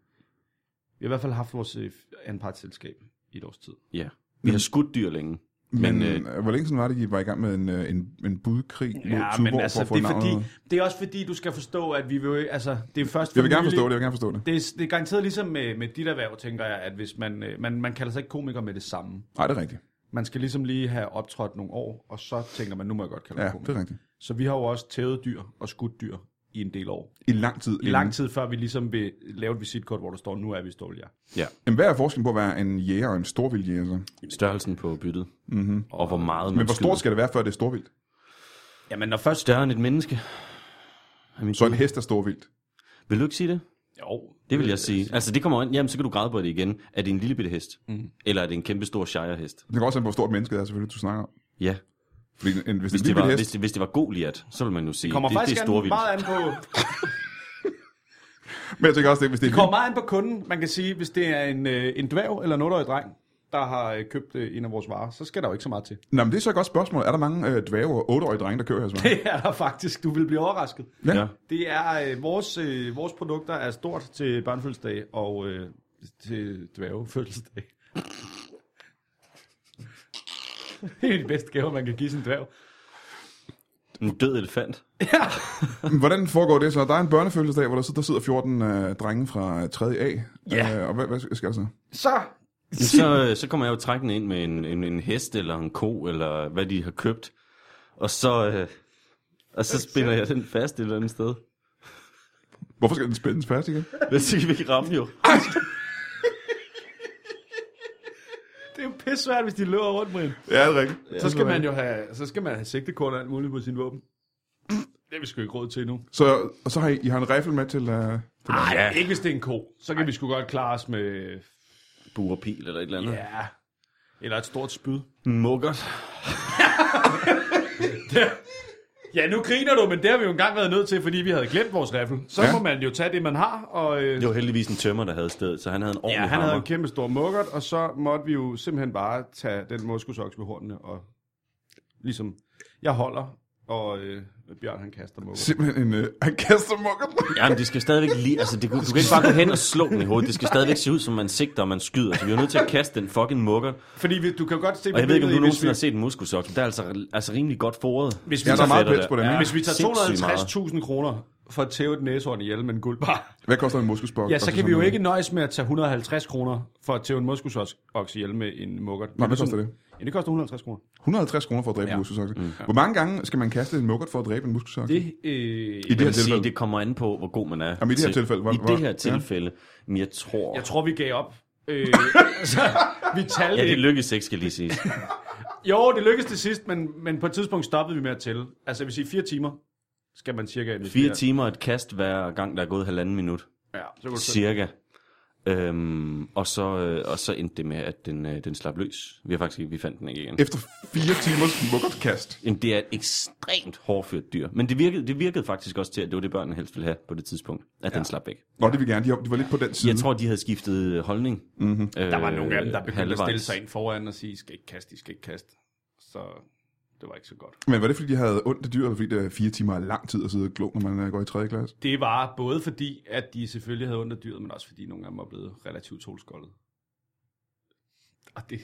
Speaker 3: har i hvert fald haft vores øh, anpartsselskab i et års tid.
Speaker 2: Ja. Vi har skudt dyr længe.
Speaker 1: Men,
Speaker 2: Men,
Speaker 1: men øh, hvor længe siden var det, I var i gang med en, øh, en, en budkrig mod
Speaker 3: Ja,
Speaker 1: Tuborg
Speaker 3: men altså,
Speaker 1: for at få
Speaker 3: det er, fordi,
Speaker 1: navnet?
Speaker 3: det er også fordi, du skal forstå, at vi vil jo ikke- altså, det er først for
Speaker 1: Jeg vil gerne
Speaker 3: nylig-
Speaker 1: forstå det, jeg vil gerne forstå det.
Speaker 3: Det er, det er garanteret ligesom med, med dit erhverv, tænker jeg, at hvis man, øh, man, man kalder sig ikke komiker med det samme.
Speaker 1: Nej, det er rigtigt.
Speaker 3: Man skal ligesom lige have optrådt nogle år, og så tænker man, nu må jeg godt kalde mig
Speaker 1: Ja, det
Speaker 3: komiker.
Speaker 1: er rigtigt.
Speaker 3: Så vi har jo også tævet dyr og skudt dyr i en del år.
Speaker 1: I lang tid.
Speaker 3: I lang tid før vi ligesom vil lave et visitkort, hvor der står, nu er vi stålige.
Speaker 2: Ja,
Speaker 1: Jamen, hvad er forskellen på at være en jæger og en storvild jæger så?
Speaker 2: størrelsen på byttet. Mm-hmm. Og hvor meget man
Speaker 1: Men hvor stort
Speaker 2: skyder.
Speaker 1: skal det være, før det er storvildt?
Speaker 3: Jamen, når først...
Speaker 2: Større end et menneske. Er min
Speaker 1: Så en
Speaker 2: bud.
Speaker 1: hest er storvildt.
Speaker 2: Vil du ikke sige det?
Speaker 3: Jo,
Speaker 2: Det vil jeg sige. Altså, det kommer an. Jamen, så kan du græde på det igen. Er det en lille bitte hest? Mm. Eller er det en kæmpe stor shirehest?
Speaker 1: Det kan også være, hvor stort mennesket er, selvfølgelig, du snakker om.
Speaker 2: Ja.
Speaker 1: Fordi en, hvis,
Speaker 2: Hvis
Speaker 1: det
Speaker 2: det,
Speaker 1: er en
Speaker 2: var,
Speaker 1: lille
Speaker 2: hvis,
Speaker 1: hest,
Speaker 2: det, hvis det var Goliath, så vil man jo sige,
Speaker 3: kommer
Speaker 2: det, det
Speaker 3: faktisk
Speaker 2: er
Speaker 3: an,
Speaker 2: storvildt.
Speaker 3: meget an på...
Speaker 1: men jeg tænker også, det, hvis det er
Speaker 3: Det kommer meget an på kunden. Man kan sige, hvis det er en, øh, en dværg eller en 8-årig dreng, der har øh, købt øh, en af vores varer, så skal der jo ikke så meget til.
Speaker 1: Nå, men det er så et godt spørgsmål. Er der mange øh, dvæve og 8-årige drenge, der kører her? Det...
Speaker 3: Det er der faktisk. Du vil blive overrasket.
Speaker 1: Ja.
Speaker 2: Ja.
Speaker 3: Det er øh, vores, øh, vores produkter er stort til børnefødselsdag og øh, til dværgefødselsdag. Det er den bedste gave, man kan give sin dværg.
Speaker 2: En død elefant.
Speaker 3: Ja.
Speaker 1: Hvordan foregår det så? Der er en børnefødselsdag, hvor der sidder, der sidder 14 øh, drenge fra 3A.
Speaker 3: Ja.
Speaker 1: Øh, og hvad, hvad skal der så?
Speaker 3: Så
Speaker 2: Men Så, så kommer jeg jo trækkende ind med en, en, en hest eller en ko, eller hvad de har købt. Og så, øh, og så spiller jeg den fast et eller andet sted.
Speaker 1: Hvorfor skal den spændes fast igen?
Speaker 2: Men så kan vi ikke ramme jo.
Speaker 3: det er jo pissvært, hvis de løber rundt med en.
Speaker 1: Ja, det er rigtigt.
Speaker 3: Så skal man jo have, så skal man have sigtekorn og alt muligt på sin våben. Det er vi sgu ikke råd til nu.
Speaker 1: Så, og så har I, I har en rifle med til... Øh, til
Speaker 2: Ah,
Speaker 3: Nej, ja. ikke hvis det er en ko. Så kan vi sgu godt klare os med...
Speaker 2: Bur og pil eller et eller andet. Yeah.
Speaker 3: Ja. Eller et stort spyd.
Speaker 2: Mukkert.
Speaker 3: Ja, nu griner du, men det har vi jo engang været nødt til, fordi vi havde glemt vores riffel. Så
Speaker 1: Ja.
Speaker 3: ja. må man jo tage det, man har, og... Øh,
Speaker 2: Det var heldigvis en tømmer, der havde stedet, så han havde en ordentlig
Speaker 3: ja, han
Speaker 2: hammer.
Speaker 3: havde en kæmpe stor mukkert, og så måtte vi jo simpelthen bare tage den moskusoks med hornene, og ligesom, jeg holder, og øh, Bjørn han kaster mukkert.
Speaker 1: Simpelthen en... Øh, han kaster mukker.
Speaker 2: Ja, men det skal stadigvæk lige... Altså, det, du kan ikke bare gå hen og slå den i hovedet. Det skal stadigvæk se ud, som man sigter og man skyder. Så vi er jo nødt til at kaste den fucking mukker.
Speaker 3: Fordi vi, du kan godt se,
Speaker 2: Og jeg ved ikke, om du
Speaker 3: hvis, vi,
Speaker 2: nogensinde har set en muskusoks, men der er altså, altså rimelig godt foret.
Speaker 3: hvis,
Speaker 1: Ja,
Speaker 3: vi,
Speaker 1: der er
Speaker 3: tager,
Speaker 1: meget
Speaker 2: fedt,
Speaker 1: pels på
Speaker 2: det
Speaker 1: dem,
Speaker 2: der.
Speaker 1: ja.
Speaker 3: hvis vi
Speaker 2: Sindssygt
Speaker 3: tager 250.000 kroner for at tæve et næsehorn ihjel med en guldbar,
Speaker 1: Hvad koster en muskelspok?
Speaker 3: ja, så kan vi jo ikke nøjes med at tage 150 kroner for at tæve en moskusoks ihjel med en mukkert.
Speaker 1: hvad koster det?
Speaker 3: Ja, det koster 150 kroner.
Speaker 1: 150 kroner for at dræbe ja. en muskelsokse. Mm. Hvor mange gange skal man kaste en mukkert for at dræbe en muskelsokse?
Speaker 3: Det, øh,
Speaker 1: I
Speaker 2: Det
Speaker 1: det her
Speaker 2: vil sige,
Speaker 1: tilfælde.
Speaker 2: det kommer an på, hvor god man er.
Speaker 1: Jamen, i det her tilfælde, hvor-
Speaker 2: I
Speaker 1: hvor-
Speaker 2: det her
Speaker 1: ja.
Speaker 2: tilfælde, men jeg tror...
Speaker 3: Jeg tror, vi gav op. Øh, så vi talte
Speaker 2: Ja,
Speaker 3: ja,
Speaker 2: det lykkedes ikke, skal lige sige.
Speaker 3: Jo, det lykkedes til sidst, men, men på et tidspunkt stoppede vi med at tælle. Altså, jeg vil sige, fire timer skal man cirka investere.
Speaker 2: Fire timer et kast hver gang, der er gået halvanden minut.
Speaker 3: Ja, så kan du se.
Speaker 2: Cirka. Øhm, og, så, øh, og så endte det med, at den, øh, den slap løs. Vi har faktisk ikke, vi fandt den ikke igen.
Speaker 1: Efter fire timers mukkertkast.
Speaker 2: Jamen, det er et ekstremt hårdført dyr. Men det virkede, det virkede faktisk også til, at det var det, børnene helst ville have på det tidspunkt, at ja. den slap væk.
Speaker 1: Nå, det vil gerne. De, de var lidt på den side.
Speaker 2: Jeg tror, de havde skiftet øh, holdning.
Speaker 1: Mhm.
Speaker 2: Mm-hmm. Øh,
Speaker 3: Der var nogle af dem, der begyndte at stille sig ind foran og sige, I skal ikke kaste, I skal ikke kaste. Så det var ikke så godt.
Speaker 1: Men var det, fordi de havde ondt af dyr, eller fordi det er fire timer er lang tid at sidde og glo, når man øh, går i 3. klasse?
Speaker 3: Det var både fordi, at de selvfølgelig havde ondt af dyret, men også fordi nogle af dem var blevet relativt solskoldet. Og det,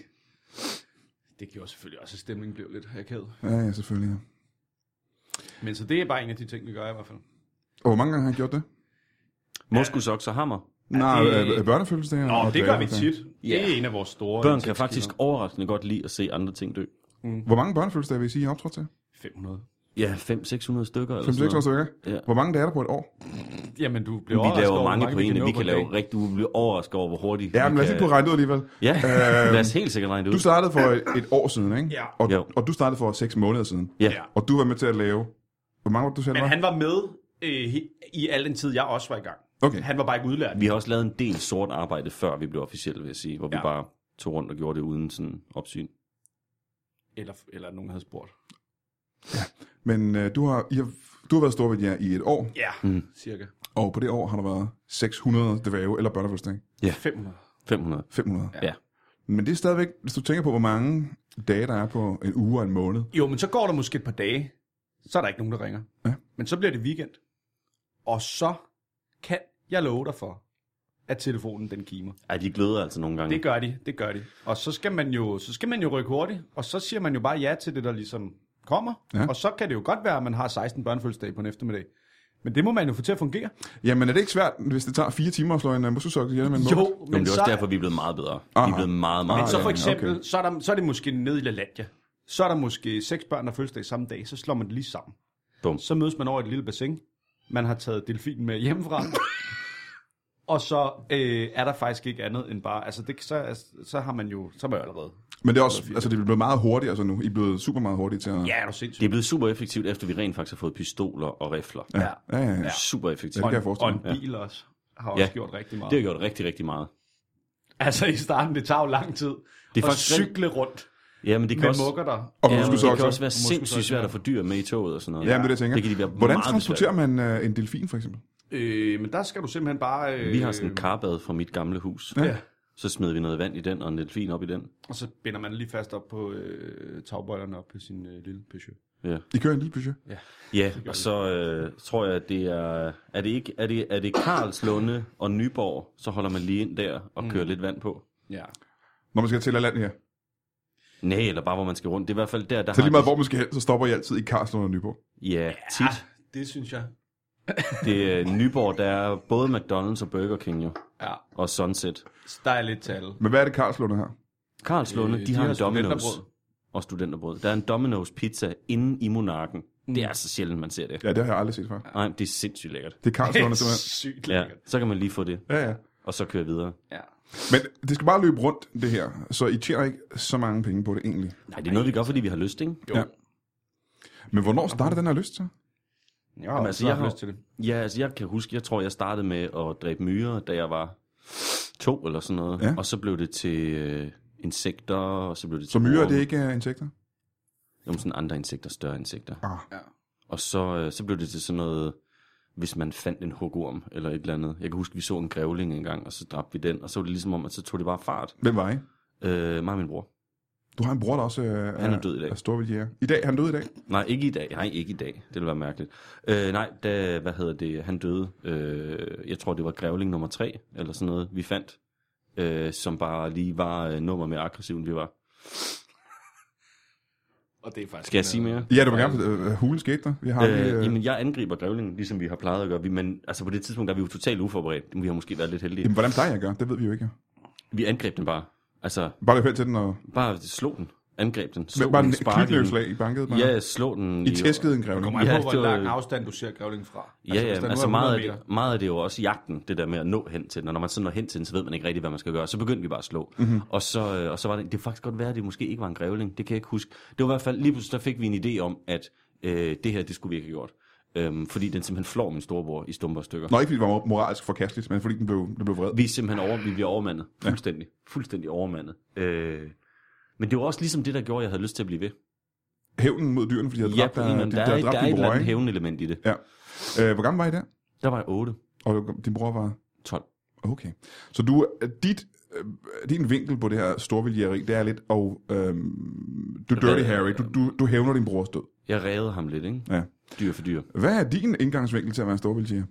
Speaker 3: det gjorde selvfølgelig også, at stemningen blev lidt akavet.
Speaker 1: Ja, ja, selvfølgelig. Ja.
Speaker 3: Men så det er bare en af de ting, vi gør i hvert fald.
Speaker 1: Og hvor mange gange har han gjort det?
Speaker 2: Moskusokser og hammer.
Speaker 1: Nej,
Speaker 3: det-
Speaker 1: øh, børnefødselsdager.
Speaker 3: Nå,
Speaker 1: og
Speaker 3: men det gør vi
Speaker 1: dværgefødselsdage.
Speaker 3: tit.
Speaker 2: Ja.
Speaker 3: Det er en af vores store...
Speaker 2: Børn kan faktisk overraskende godt lide at se andre ting dø.
Speaker 1: Hvor mange børnefødselsdage vil I sige, I har optrådt til?
Speaker 3: 500.
Speaker 2: Ja, 500-600 stykker. eller
Speaker 1: 5
Speaker 2: sådan
Speaker 1: 600
Speaker 2: noget.
Speaker 1: stykker.
Speaker 2: Ja.
Speaker 1: Hvor mange der er der på et år?
Speaker 3: Jamen, du bliver
Speaker 2: Vi
Speaker 3: overrasket
Speaker 2: laver
Speaker 3: over, hvor
Speaker 2: mange på
Speaker 3: kan
Speaker 2: en,
Speaker 3: nå
Speaker 2: vi kan
Speaker 3: på en
Speaker 2: lave rigtig, du bliver overrasket over, hvor hurtigt
Speaker 1: Ja, men
Speaker 2: vi
Speaker 1: lad os lige
Speaker 2: kan...
Speaker 1: få regnet ud alligevel.
Speaker 2: Ja,
Speaker 1: Øhm,
Speaker 2: lad os helt sikkert regne det
Speaker 1: Du
Speaker 2: ud.
Speaker 1: startede for et, et år siden, ikke?
Speaker 3: Ja.
Speaker 1: Og,
Speaker 2: Jo.
Speaker 1: og du startede for 6 måneder siden.
Speaker 2: Ja.
Speaker 3: Ja.
Speaker 1: Og du var med til at lave... Hvor mange var det, du selv
Speaker 3: Men
Speaker 1: var?
Speaker 3: han var med øh, he- i al den tid, jeg også var i gang.
Speaker 1: Okay.
Speaker 3: Han var bare ikke udlært.
Speaker 2: Vi har også lavet en del sort arbejde, før vi blev officielle, vil jeg sige, hvor ja.
Speaker 3: Ja.
Speaker 2: vi bare tog rundt og gjorde det uden sådan opsyn.
Speaker 3: Eller, eller nogen havde spurgt.
Speaker 2: Mm.
Speaker 1: Men øh, du, har, I har, du har været stor ved jer i et år,
Speaker 3: Ja, mm. cirka.
Speaker 1: og på det år har der været 600 dvæve eller børnefødselsdag.
Speaker 3: 500.
Speaker 2: 500.
Speaker 1: 500.
Speaker 2: Ja.
Speaker 1: Men det er stadigvæk, hvis du tænker på, hvor mange dage der er på en uge og en måned.
Speaker 3: Jo, men så går der måske et par dage, så er der ikke nogen, der ringer.
Speaker 1: Ja.
Speaker 3: Men så bliver det weekend. Og så kan jeg love dig for, at telefonen den kimer.
Speaker 2: Ej, de gløder altså nogle gange.
Speaker 3: Det gør de, det gør de. Og så skal man jo, så skal man jo rykke hurtigt, og så siger man jo bare ja til det, der ligesom kommer.
Speaker 1: Ja.
Speaker 3: Ja. Og så kan det jo godt være, at man har 16 børnefødselsdage på en eftermiddag. Men det må man jo få til at fungere.
Speaker 1: Jamen er det ikke svært, hvis det tager 4 timer at slå en uh, muskelsok ihjel med en
Speaker 3: Jo,
Speaker 1: bold?
Speaker 3: men,
Speaker 2: Jo, men det er
Speaker 3: så,
Speaker 2: også derfor, vi er blevet meget bedre. Vi
Speaker 1: Aha.
Speaker 2: er blevet meget, meget
Speaker 1: Men
Speaker 3: men så
Speaker 1: Ah,
Speaker 3: for
Speaker 1: ja,
Speaker 3: eksempel,
Speaker 1: okay.
Speaker 3: okay. så, er der, så er det måske nede i LaLandia. Så er der måske seks børn, der har fødselsdag samme dag, så slår man det lige sammen.
Speaker 2: Bum.
Speaker 3: Så mødes man over et lille bassin. Man har taget delfinen med hjemmefra. og så øh, er der faktisk ikke andet end bare... Altså, det, så, så har man jo... Så er man jo allerede...
Speaker 1: Men det er også, altså det er blevet meget hurtigt altså nu. I er blevet super meget hurtigt til at...
Speaker 3: Ja, er du sindssygt.
Speaker 2: Det er blevet super effektivt, efter vi rent faktisk har fået pistoler og rifler.
Speaker 3: Ja.
Speaker 1: Ja, ja, ja.
Speaker 2: Super effektivt.
Speaker 1: Ja, det kan jeg
Speaker 3: Og, og
Speaker 1: forestille
Speaker 3: en
Speaker 1: mig.
Speaker 3: bil også har også
Speaker 2: Ja.
Speaker 3: gjort rigtig meget.
Speaker 2: Det har gjort rigtig, rigtig meget.
Speaker 3: Altså i starten, det tager jo lang tid det
Speaker 2: Det
Speaker 3: er
Speaker 2: er
Speaker 3: at
Speaker 2: faktisk rent-
Speaker 3: cykle rundt
Speaker 2: Ja, men det kan
Speaker 3: med
Speaker 2: også,
Speaker 3: mukker der.
Speaker 1: Og
Speaker 2: ja, men det
Speaker 1: muskelsokser.
Speaker 2: kan også være
Speaker 3: Og
Speaker 2: sindssygt
Speaker 3: muskelsokser.
Speaker 2: svært at få dyr med i toget og sådan noget.
Speaker 1: Ja, men det er det, jeg tænker.
Speaker 2: Det kan de være
Speaker 1: Hvordan
Speaker 2: meget
Speaker 1: transporterer man øh, en delfin, for eksempel?
Speaker 3: Øh, men der skal du simpelthen bare... Øh,
Speaker 2: besværlige. Vi har sådan en karbad fra mit gamle hus.
Speaker 1: Ja.
Speaker 3: Ja,
Speaker 2: Så smed vi noget vand i den og en delfin op i den.
Speaker 3: og så binder man lige fast op på øh, tagbøjlerne op på sin øh, lille Peugeot.
Speaker 2: Ja,
Speaker 1: I kører en lille budget.
Speaker 2: ja og så øh, tror jeg, at det er... Er det, ikke, er, det, er det Karlslunde og Nyborg, så holder man lige ind der og kører lidt vand på.
Speaker 3: Ja.
Speaker 1: Når man skal til land her.
Speaker 2: Nej, eller bare hvor man skal rundt. Det er i hvert fald der, der
Speaker 1: Så lige
Speaker 2: har...
Speaker 1: meget, hvor man skal hen, så stopper I altid i Karlslund og Nyborg.
Speaker 2: Ja, tit.
Speaker 3: Ah, Det synes jeg.
Speaker 2: Det er øh, Nyborg, der er både McDonald's og Burger King jo.
Speaker 3: Ja,
Speaker 2: Og Sunset.
Speaker 3: der er lidt til alle.
Speaker 1: Men hvad er det Karlslund her?
Speaker 2: Karlslunde, øh,
Speaker 3: Øh,
Speaker 2: de,
Speaker 3: de
Speaker 2: de har
Speaker 3: har
Speaker 2: en Domino's
Speaker 3: studenterbrød.
Speaker 2: og studenterbrød. Der er en Domino's pizza inde i Monarken. Mm. Det er så sjældent, man ser det.
Speaker 1: Ja, det har jeg aldrig set før.
Speaker 2: Nej, det er sindssygt lækkert.
Speaker 1: Det er Karlslund, simpelthen.
Speaker 3: sygt
Speaker 2: Ja,
Speaker 3: lækkert.
Speaker 2: så kan man lige få det,
Speaker 1: Ja, ja.
Speaker 2: og så køre videre.
Speaker 3: Ja.
Speaker 1: Men det skal bare løbe rundt, det her. Så I tjener ikke så mange penge på det egentlig.
Speaker 2: Nej, altså- det er noget, vi gør, fordi vi har lyst, ikke?
Speaker 3: Jo.
Speaker 1: Ja. Men hvornår starter den her lyst så?
Speaker 3: Jeg har
Speaker 2: Jamen,
Speaker 3: også
Speaker 2: altså, jeg
Speaker 3: haft
Speaker 2: har-
Speaker 3: lyst til det.
Speaker 2: Ja, altså jeg kan huske, jeg tror, jeg startede med at dræbe myrer, da jeg var to eller sådan noget.
Speaker 1: Ja.
Speaker 2: Og så blev det til øh, insekter, og så blev det til...
Speaker 1: Så myrer,
Speaker 2: orme.
Speaker 1: det er ikke uh, insekter?
Speaker 2: Jamen sådan andre insekter, større insekter.
Speaker 1: Ah.
Speaker 3: Ja.
Speaker 2: Og så, øh, så blev det til sådan noget, hvis man fandt en hugorm eller et eller andet. Jeg kan huske, vi så en grævling engang, og så dræbte vi den, og så var det ligesom om, at så tog det bare fart.
Speaker 1: Hvem var I?
Speaker 2: Øh, mig og min bror.
Speaker 1: Du har en bror, der også uh,
Speaker 2: Han er død i dag.
Speaker 1: Er storvildjæger. I dag? Han er død i dag?
Speaker 2: Nej, ikke i dag. Nej, ikke i dag. Det ville være mærkeligt. Øh, nej, da, hvad hedder det, han døde, øh, jeg tror, det var grævling nummer tre, eller sådan noget, vi fandt, øh, som bare lige var øh, nummer mere aggressiv, end vi var.
Speaker 3: Og det er faktisk...
Speaker 2: Skal jeg sige mere?
Speaker 1: Ja, du må gerne... Uh, hulen skete der. Vi har øh, lige,
Speaker 2: Øh,
Speaker 1: uh, jamen,
Speaker 2: jamen, jeg angriber grævlingen, ligesom vi har plejet at gøre. Vi, men altså, på det tidspunkt der er vi jo totalt uforberedt. Vi har måske været lidt heldige.
Speaker 1: jamen, hvordan plejer jeg at gøre? Det ved vi jo ikke. jo.
Speaker 2: Vi angreb den bare. Altså,
Speaker 1: Bare løb hen til den og...
Speaker 2: Bare slå den. Angreb den. Slå
Speaker 1: Bare
Speaker 2: den,
Speaker 1: en
Speaker 2: sparkede den.
Speaker 1: knytnøvslag i banket. Bare.
Speaker 2: Ja, slå den.
Speaker 1: I tæskede en grævling.
Speaker 3: Kommer an
Speaker 2: Ja,
Speaker 3: på, hvor
Speaker 2: det var-
Speaker 3: lang afstand du ser grævlingen fra.
Speaker 2: Ja, ja,
Speaker 3: hvis der nu
Speaker 2: altså,
Speaker 3: er
Speaker 2: altså meget, af
Speaker 3: 100 meter.
Speaker 2: det, meget af det er jo også jagten, det der med at nå hen til den. Og når man så når hen til den, så ved man ikke rigtigt, hvad man skal gøre. Så begyndte vi bare at slå. Mm-hmm. Og, så, øh, og så var det, det kan faktisk godt være, at det måske ikke var en grævling. Det kan jeg ikke huske. Det var i hvert fald, lige pludselig der fik vi en idé om, at øh, det her, det skulle vi ikke have gjort. Øhm, fordi den simpelthen flår min storebror i stumper og stykker.
Speaker 1: Nå, ikke fordi det var moralsk forkasteligt, men fordi den blev, den blev vred.
Speaker 2: Vi er simpelthen over, vi bliver overmandet. Fuldstændig. Fuldstændig overmandet. Øh, men det var også ligesom det, der gjorde, at jeg havde lyst til at blive ved.
Speaker 1: Hævnen mod dyrene, fordi de havde
Speaker 2: Ja,
Speaker 1: dræbt,
Speaker 2: på en eller anden.
Speaker 1: de,
Speaker 2: Der,
Speaker 1: de
Speaker 2: er,
Speaker 1: havde
Speaker 2: et- der
Speaker 1: dræbt
Speaker 2: er et
Speaker 1: din
Speaker 2: eller
Speaker 1: bror,
Speaker 2: andet
Speaker 1: ikke?
Speaker 2: hævnelement i det.
Speaker 1: Ja. Øh, hvor gammel var I der?
Speaker 2: Der var jeg 8,
Speaker 1: Og din bror var...
Speaker 2: 12.
Speaker 1: Okay. Så du, dit, øh, din vinkel på det her storvildjægeri, det er lidt, og øhm, du Dirty Harry, du, du, du hævner din brors død.
Speaker 2: Jeg rævede ham lidt, ikke?
Speaker 1: Ja.
Speaker 2: Dyr for dyr.
Speaker 1: Hvad er din indgangsvinkel til at være en storvildjæger?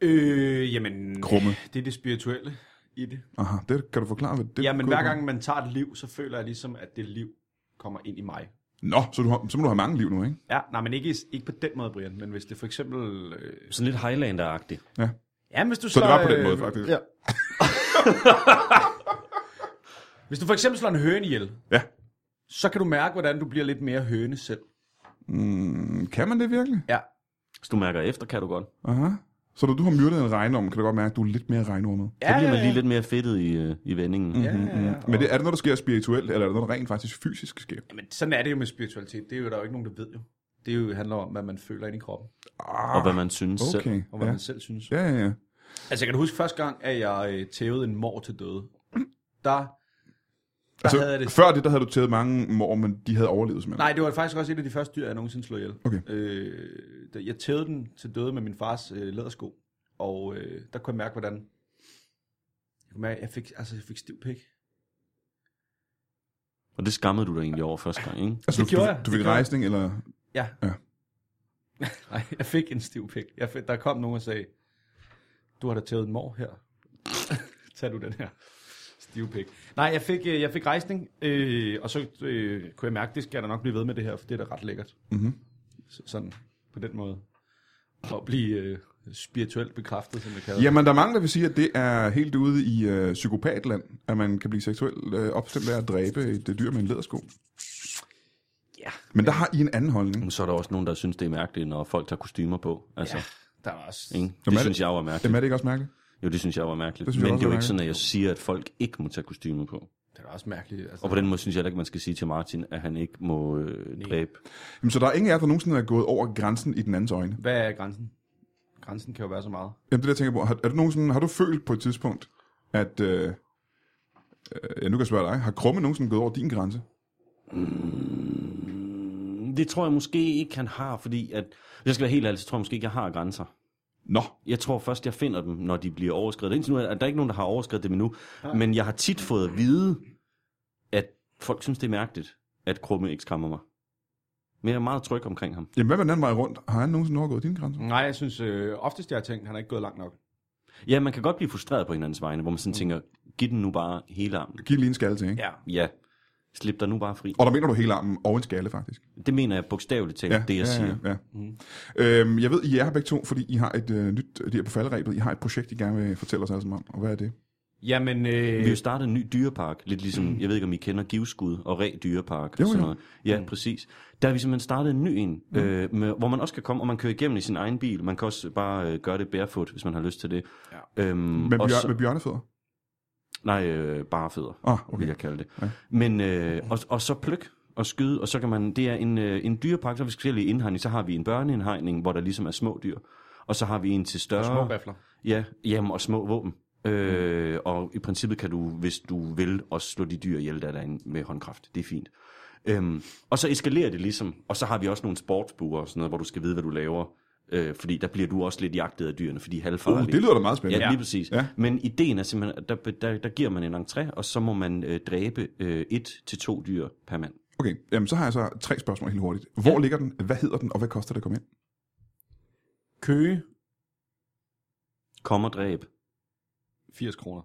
Speaker 3: Øh, jamen...
Speaker 1: Krumme.
Speaker 3: Det er det spirituelle i det.
Speaker 1: Aha, det kan du forklare, hvad det
Speaker 3: Ja,
Speaker 1: går
Speaker 3: men hver
Speaker 1: ud på.
Speaker 3: gang man tager et liv, så føler jeg ligesom, at det liv kommer ind i mig.
Speaker 1: Nå, så, du har, så må du have mange liv nu, ikke?
Speaker 3: Ja, nej, men ikke, ikke på den måde, Brian, men hvis det for eksempel... Øh,
Speaker 2: Sådan lidt Highlander-agtigt.
Speaker 3: ja, hvis du
Speaker 1: Så det
Speaker 3: slår,
Speaker 1: var på den måde,
Speaker 3: øh,
Speaker 1: faktisk.
Speaker 3: Ja. hvis du for eksempel slår en høne ihjel,
Speaker 1: Ja.
Speaker 3: så kan du mærke, hvordan du bliver lidt mere høne selv.
Speaker 1: Mm, kan man det virkelig?
Speaker 3: Ja.
Speaker 2: Hvis du mærker efter, kan du godt.
Speaker 1: Aha. Så når du har myrdet en regnorm, kan du godt mærke, at du er lidt mere regnormet.
Speaker 2: Så bliver man lige lidt mere fedtet i, øh, i vendingen. Mm.
Speaker 3: Ja, ja, ja.
Speaker 1: Men det, er det noget, der sker spirituelt, eller er det noget, der rent faktisk fysisk sker?
Speaker 3: Men sådan er det jo med spiritualitet. Det er jo der jo ikke nogen, der ved jo. Det er jo, handler om, hvad man føler ind i kroppen,
Speaker 2: Og hvad man synes okay. selv.
Speaker 1: Okay,
Speaker 3: og hvad ja.
Speaker 1: ja.
Speaker 3: man selv synes.
Speaker 1: Ja, ja, ja.
Speaker 3: Altså, jeg kan da huske første gang, at jeg øh, tævede en mor til døde. Der, der altså, havde jeg
Speaker 1: Altså,
Speaker 3: det...
Speaker 1: før det, der havde du taget mange mor, men de havde overlevet simpelthen.
Speaker 3: Nej, det var faktisk også et af de første dyr, jeg nogensinde slog ihjel.
Speaker 1: Okay.
Speaker 3: Øh, da- jeg tævede den til døde med min fars øh, lædersko, og øh, der kunne jeg mærke, hvordan... Jeg kunne mærke, jeg fik, altså, jeg fik stiv pik.
Speaker 2: Og det skammede du dig egentlig over første gang, ikke?
Speaker 1: altså,
Speaker 3: det
Speaker 1: du,
Speaker 3: gjorde
Speaker 1: du,
Speaker 3: jeg.
Speaker 1: Du
Speaker 3: Det
Speaker 1: fik
Speaker 3: gjorde jeg.
Speaker 1: rejsning, eller...
Speaker 3: Ja.
Speaker 1: Ja.
Speaker 3: Nej, jeg fik en stiv pik. Jeg fik, der kom nogen og sagde, du har da taget en mor her. Tag du den her stiv pik. Nej, jeg fik, øh, jeg fik rejsning, øh, og så øh, kunne jeg mærke, det skal jeg da nok blive ved med det her, for det er da ret lækkert.
Speaker 1: Mhm.
Speaker 3: Så, sådan på den måde. Og blive øh, spirituelt bekræftet, som det kalder
Speaker 1: Jamen, der er mange, der vil sige, at det er helt ude i øh, psykopatland, at man kan blive seksuelt øh, opstemt af at dræbe et øh, dyr med en lædersko.
Speaker 3: Ja.
Speaker 1: Men der har I en anden holdning.
Speaker 2: Men så er der også nogen, der synes, det er mærkeligt, når folk tager kostymer på. Altså,
Speaker 3: Ja, der er også...
Speaker 2: ikke?
Speaker 1: Jamen,
Speaker 2: Det
Speaker 1: er
Speaker 2: synes
Speaker 1: det-
Speaker 2: jeg var mærkeligt.
Speaker 1: Jamen, er det ikke også mærkeligt?
Speaker 2: Jo, det synes jeg var mærkeligt.
Speaker 1: Det
Speaker 2: Det
Speaker 1: synes jeg
Speaker 2: Men
Speaker 1: også
Speaker 2: det er jo
Speaker 1: er
Speaker 2: ikke sådan, at jeg siger, at folk ikke må tage kostymer på.
Speaker 3: Det er da også mærkeligt. Altså,
Speaker 2: Og på den måde synes jeg heller ikke, man skal sige til Martin, at han ikke må øh, dræbe.
Speaker 1: Jamen, så der er ingen af jer, der nogensinde er gået over grænsen i den andens øjne.
Speaker 3: Hvad er grænsen? Grænsen kan jo være så meget.
Speaker 1: Jamen, det der, jeg tænker på, har, er du nogensinde, har du følt på et tidspunkt, at... Øh, øh, ja, nu kan jeg spørge dig. Har Krumme nogensinde gået over din grænse?
Speaker 2: Det tror jeg måske ikke, han har, fordi at... Hvis jeg skal være helt ærlig, så tror jeg måske ikke, jeg har grænser.
Speaker 1: Nå,
Speaker 2: Jeg tror først, jeg finder dem, når de bliver overskrevet. Indtil nu er der ikke nogen, der har overskrevet dem endnu. Men jeg har tit fået at vide, at folk synes, det er mærkeligt, at Krumme ikke skræmmer mig. Men jeg er meget tryg omkring ham.
Speaker 1: Jamen, hvad med den anden vej rundt? Har han nogensinde overgået dine grænser?
Speaker 3: Nej, jeg synes øh, oftest, jeg har tænkt, han er ikke gået langt nok.
Speaker 2: Ja, man kan godt blive frustreret på hinandens vegne, hvor man sådan tænker, giv den nu bare hele armen.
Speaker 1: Giv lige en skalle til, ikke?
Speaker 3: Ja.
Speaker 2: Ja, slip dig nu bare fri.
Speaker 1: Og der mener du hele armen og en skalle, faktisk.
Speaker 2: Det mener jeg bogstaveligt talt, ja, det jeg
Speaker 1: ja,
Speaker 2: ja, siger. Ja.
Speaker 1: Ja, ja. Mm. Øhm, jeg ved, I er her begge to, fordi I har et øh, nyt, det er på falderæbet, I har et projekt, I gerne vil fortælle os alle sammen om. Og hvad er det?
Speaker 2: Mm.
Speaker 3: Jamen,
Speaker 2: Vi
Speaker 3: øh,
Speaker 2: har jo startet en ny dyrepark, lidt ligesom, jeg ved ikke om I kender Givskud og Ræ Dyrepark.
Speaker 1: Jo,
Speaker 2: og sådan
Speaker 1: jo.
Speaker 2: noget. Ja, mm. præcis. Der har vi simpelthen startet en ny en, øh, med, hvor man også kan komme, og man kører igennem i sin egen bil. Man kan også bare øh, gøre det barefoot, hvis man har lyst til det. Ja. Øhm,
Speaker 1: Med,
Speaker 2: og
Speaker 1: bjør,
Speaker 2: så-
Speaker 1: med bjørnefødder?
Speaker 2: Nej, øh, bare fødder,
Speaker 1: Ah,
Speaker 2: ah,
Speaker 1: okay.
Speaker 2: okay. vil jeg kalde det. Ja. Men, øh, og, og så pløk og skyde, og så kan man, det er en, øh, en dyrepakke, så har vi forskellige indhegning, så har vi en børneindhegning, hvor der ligesom er små dyr, og så har vi en til større...
Speaker 3: små rifler.
Speaker 2: Ja, jamen, og små våben. Øh, og i princippet kan du, hvis du vil, også slå de dyr ihjel, der er derinde med håndkraft. Det er fint. Øhm, og så eskalerer det ligesom, og så har vi også nogle sportsbuer og sådan noget, hvor du skal vide, hvad du laver. Øh, fordi der bliver du også lidt jagtet af dyrene, fordi de er halvfarlige.
Speaker 1: Uh, det lyder da meget spændende.
Speaker 2: Ja, lige præcis.
Speaker 1: Ja.
Speaker 2: Ja. Men ideen er simpelthen, at der, der, der giver man en entré, og så må man øh, dræbe øh, et til to dyr per mand.
Speaker 1: Okay, jamen, så har jeg så tre spørgsmål helt hurtigt. Hvor ja. ligger den? Hvad hedder den? Og hvad koster det at komme ind?
Speaker 3: Køge,
Speaker 2: Kom og dræb.
Speaker 3: 80 kroner.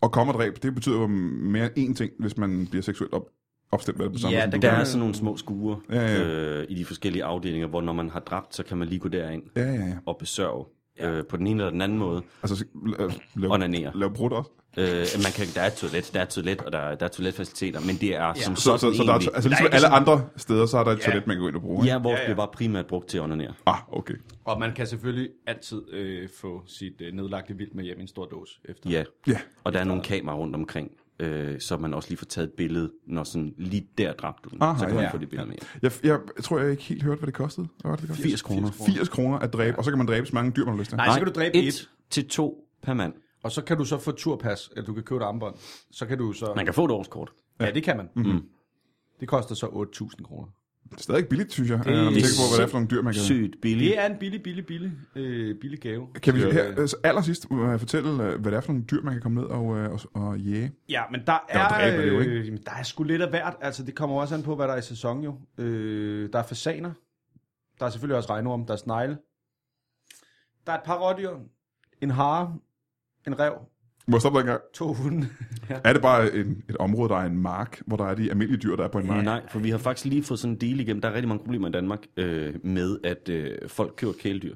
Speaker 1: Og komme og dræb, det betyder jo mere end én ting, hvis man bliver seksuelt op, opstemt med det på samme
Speaker 3: Ja,
Speaker 1: måde, som
Speaker 3: den
Speaker 1: du
Speaker 2: Der
Speaker 1: gør.
Speaker 2: er sådan nogle små skure
Speaker 1: Ja, ja.
Speaker 2: Øh, i de forskellige afdelinger, hvor når man har dræbt, så kan man lige gå derind
Speaker 1: Ja, ja, ja.
Speaker 2: og besørge øh, på den ene eller den anden måde.
Speaker 1: Altså, så- la- lav,
Speaker 2: Onanere.
Speaker 1: lav brudt også.
Speaker 2: Øh, man kan, der er et toilet, der er et toilet, og der, der er toiletfaciliteter, men det er ja. som
Speaker 1: Så,
Speaker 2: sådan
Speaker 1: så, så der er,
Speaker 2: egentlig-
Speaker 1: altså, ligesom
Speaker 3: ikke
Speaker 1: alle andre steder, så er der et toilet, man kan gå ind og bruge. ikke?
Speaker 2: Ja, hvor
Speaker 3: Ja, ja.
Speaker 2: ja, ja. det var primært brugt til at onanere.
Speaker 1: Ah, okay.
Speaker 3: Og man kan selvfølgelig altid øh, få sit øh, nedlagte vildt med hjem i en stor dåse efter.
Speaker 2: Ja.
Speaker 1: Ja.
Speaker 2: Og der er nogle kameraer rundt omkring, øh, så man også lige får taget et billede, når sådan lige der dræbte du den.
Speaker 1: Aha,
Speaker 2: så kan man
Speaker 1: ja.
Speaker 2: få det billede med.
Speaker 1: Jeg, jeg, tror, jeg ikke helt hørte, hvad det kostede. Hvad var det, det kostede?
Speaker 2: 80 kroner.
Speaker 1: 80 kroner at dræbe, og så kan man dræbe så mange dyr, man har lyst til.
Speaker 3: Nej, så kan du dræbe et.
Speaker 2: et til to per mand.
Speaker 3: og så kan du så få turpas, eller du kan købe et armbånd. Så kan du så...
Speaker 2: Man kan få et årskort.
Speaker 3: Ja, det kan man. Mm-hmm. Det koster så 8.000 kroner.
Speaker 1: Det er stadig billigt, synes jeg, øh, når man tænker på, hvad det er for nogle dyr, man kan...
Speaker 2: Sygt billigt.
Speaker 3: Det er en billig, billig, billig, øh, billig gave.
Speaker 1: Kan vi
Speaker 3: Så,
Speaker 1: her,
Speaker 3: øh,
Speaker 1: altså, allersidst må jeg fortælle, øh, hvad det er for nogle dyr, man kan komme ned og, øh, og, og jæge?
Speaker 3: Ja, men der
Speaker 1: jo
Speaker 3: er,
Speaker 1: dræber det jo, ikke?
Speaker 3: øh, jamen, der er sgu lidt af hvert. Altså, det kommer også an på, hvad der er i sæson jo. Øh, der er fasaner. Der er selvfølgelig også regnorm. Der er snegle. Der er et par rådyr. En hare. En rev.
Speaker 1: Må jeg stoppe dig en gang?
Speaker 3: To hunde. ja.
Speaker 1: Er det bare en, et område, der er en mark, hvor der er de almindelige dyr, der er på en mark?
Speaker 2: Nej, for vi har faktisk lige fået sådan en del igennem. Der er rigtig mange problemer i Danmark øh, med, at øh, folk køber kæledyr.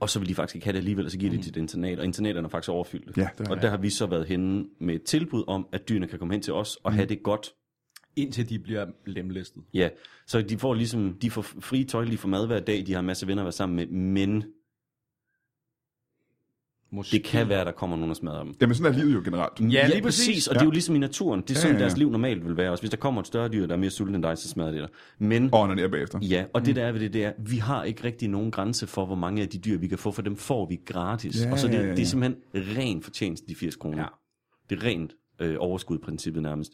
Speaker 2: Og så vil de faktisk ikke have det alligevel, og så giver de det til et internat. Og internaterne er faktisk overfyldte.
Speaker 1: Mm. Ja, det er Mm.
Speaker 2: og der har vi så været henne med et tilbud om, at dyrene kan komme hen til os og have det godt.
Speaker 3: indtil de bliver lemlæstet.
Speaker 2: Ja, så de får ligesom, de får frie tøjler, de får mad hver dag, de har en masse venner at være sammen med, men
Speaker 3: Måske.
Speaker 2: det kan være, der kommer nogen og smadrer dem.
Speaker 1: Jamen sådan er livet jo generelt.
Speaker 3: Ja, lige præcis.
Speaker 2: Og det er jo ligesom i naturen. Det er
Speaker 1: Ja,
Speaker 2: sådan,
Speaker 1: ja, ja.
Speaker 2: deres liv normalt vil være. Også hvis der kommer et større dyr, der er mere sulten end dig, så smadrer det dig. Men,
Speaker 1: Og ned bagefter.
Speaker 2: ja, og
Speaker 3: Mm.
Speaker 2: det der er ved det, det er, vi har ikke rigtig nogen grænse for, hvor mange af de dyr, vi kan få, for dem får vi gratis.
Speaker 1: Ja,
Speaker 2: og så det,
Speaker 1: ja, ja,
Speaker 2: det
Speaker 1: ja.
Speaker 2: er simpelthen ren fortjeneste, de 80 kroner.
Speaker 3: Ja.
Speaker 2: Det er rent øh, overskud i princippet nærmest.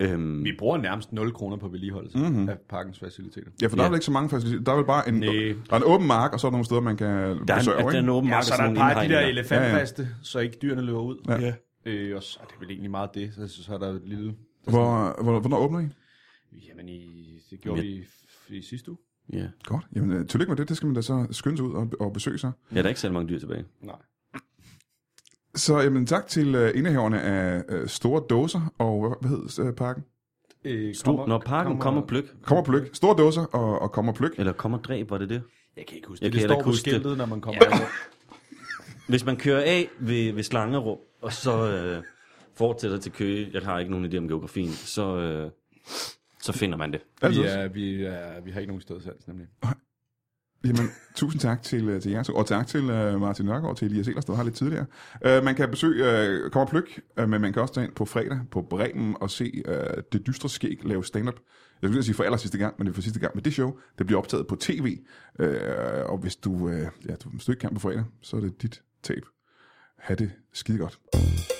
Speaker 2: Øhm,
Speaker 3: Vi bruger nærmest 0 kroner på vedligeholdelse mm-hmm. af parkens faciliteter.
Speaker 1: Ja, for der er vel ikke så mange faciliteter. Der er vel bare en,
Speaker 3: Næh.
Speaker 1: der er en åben mark, og så er der nogle steder, man kan
Speaker 2: der er,
Speaker 1: besøge.
Speaker 2: en, der er en
Speaker 1: ikke?
Speaker 2: åben marked,
Speaker 3: Altså, Ja, så er der
Speaker 2: sådan
Speaker 3: et
Speaker 2: nogle
Speaker 3: par af de der
Speaker 2: indhegninger.
Speaker 3: elefantfaste, ja, ja. så ikke dyrene løber ud.
Speaker 1: Ja. Ja.
Speaker 3: Øh, og så er det vel egentlig meget det. Så, så, så er der et lille...
Speaker 1: Hvor, hvor, hvornår åbner I?
Speaker 3: Jamen, i, det gjorde
Speaker 2: Ja.
Speaker 3: vi i, i sidste uge.
Speaker 2: Ja.
Speaker 1: Godt. Jamen, øh, tillykke med det. Det skal man da så skynde sig ud og, og besøge sig.
Speaker 2: ja, der er ikke særlig mange dyr tilbage.
Speaker 3: Nej.
Speaker 1: Så jamen, tak til øh, indehaverne af øh, store dåser og hvad, hvad hed øh, parken?
Speaker 3: Øh,
Speaker 2: Stor, når parken kommer, kommer pløk,
Speaker 1: Kom og pløk. Store dåser og, og kom og pløk.
Speaker 2: eller kommer dræb, var det det?
Speaker 3: Jeg kan ikke huske
Speaker 2: Jeg
Speaker 3: det. Det
Speaker 2: kan heller
Speaker 3: står
Speaker 2: ikke
Speaker 3: på
Speaker 2: huske det.
Speaker 3: skiltet, når man kommer. Ja.
Speaker 2: Hvis man kører af ved, ved Slangerup, og så øh, fortsætter til Køge, jeg har ikke nogen idé om geografien, så, øh, så finder man det.
Speaker 1: Altid.
Speaker 3: Vi, er, vi, er, vi har ikke nogen sted selv, nemlig.
Speaker 1: Jamen, tusind tak til, øh, til jer to, og tak til uh, Martin Nørgaard og til Elias Elers, der var her lidt tidligere. Uh, man kan besøge uh, Kom og Pløk, uh, men man kan også tage ind på fredag på Bremen og se uh, Det Dystre Skæg lave stand-up. Jeg skulle lige sige for aller sidste gang, men det er for sidste gang med det show. Det bliver optaget på tv, uh, og hvis øh, du, uh, ja, du, hvis du ikke kan på fredag, så er det dit tab. Ha' det skide godt.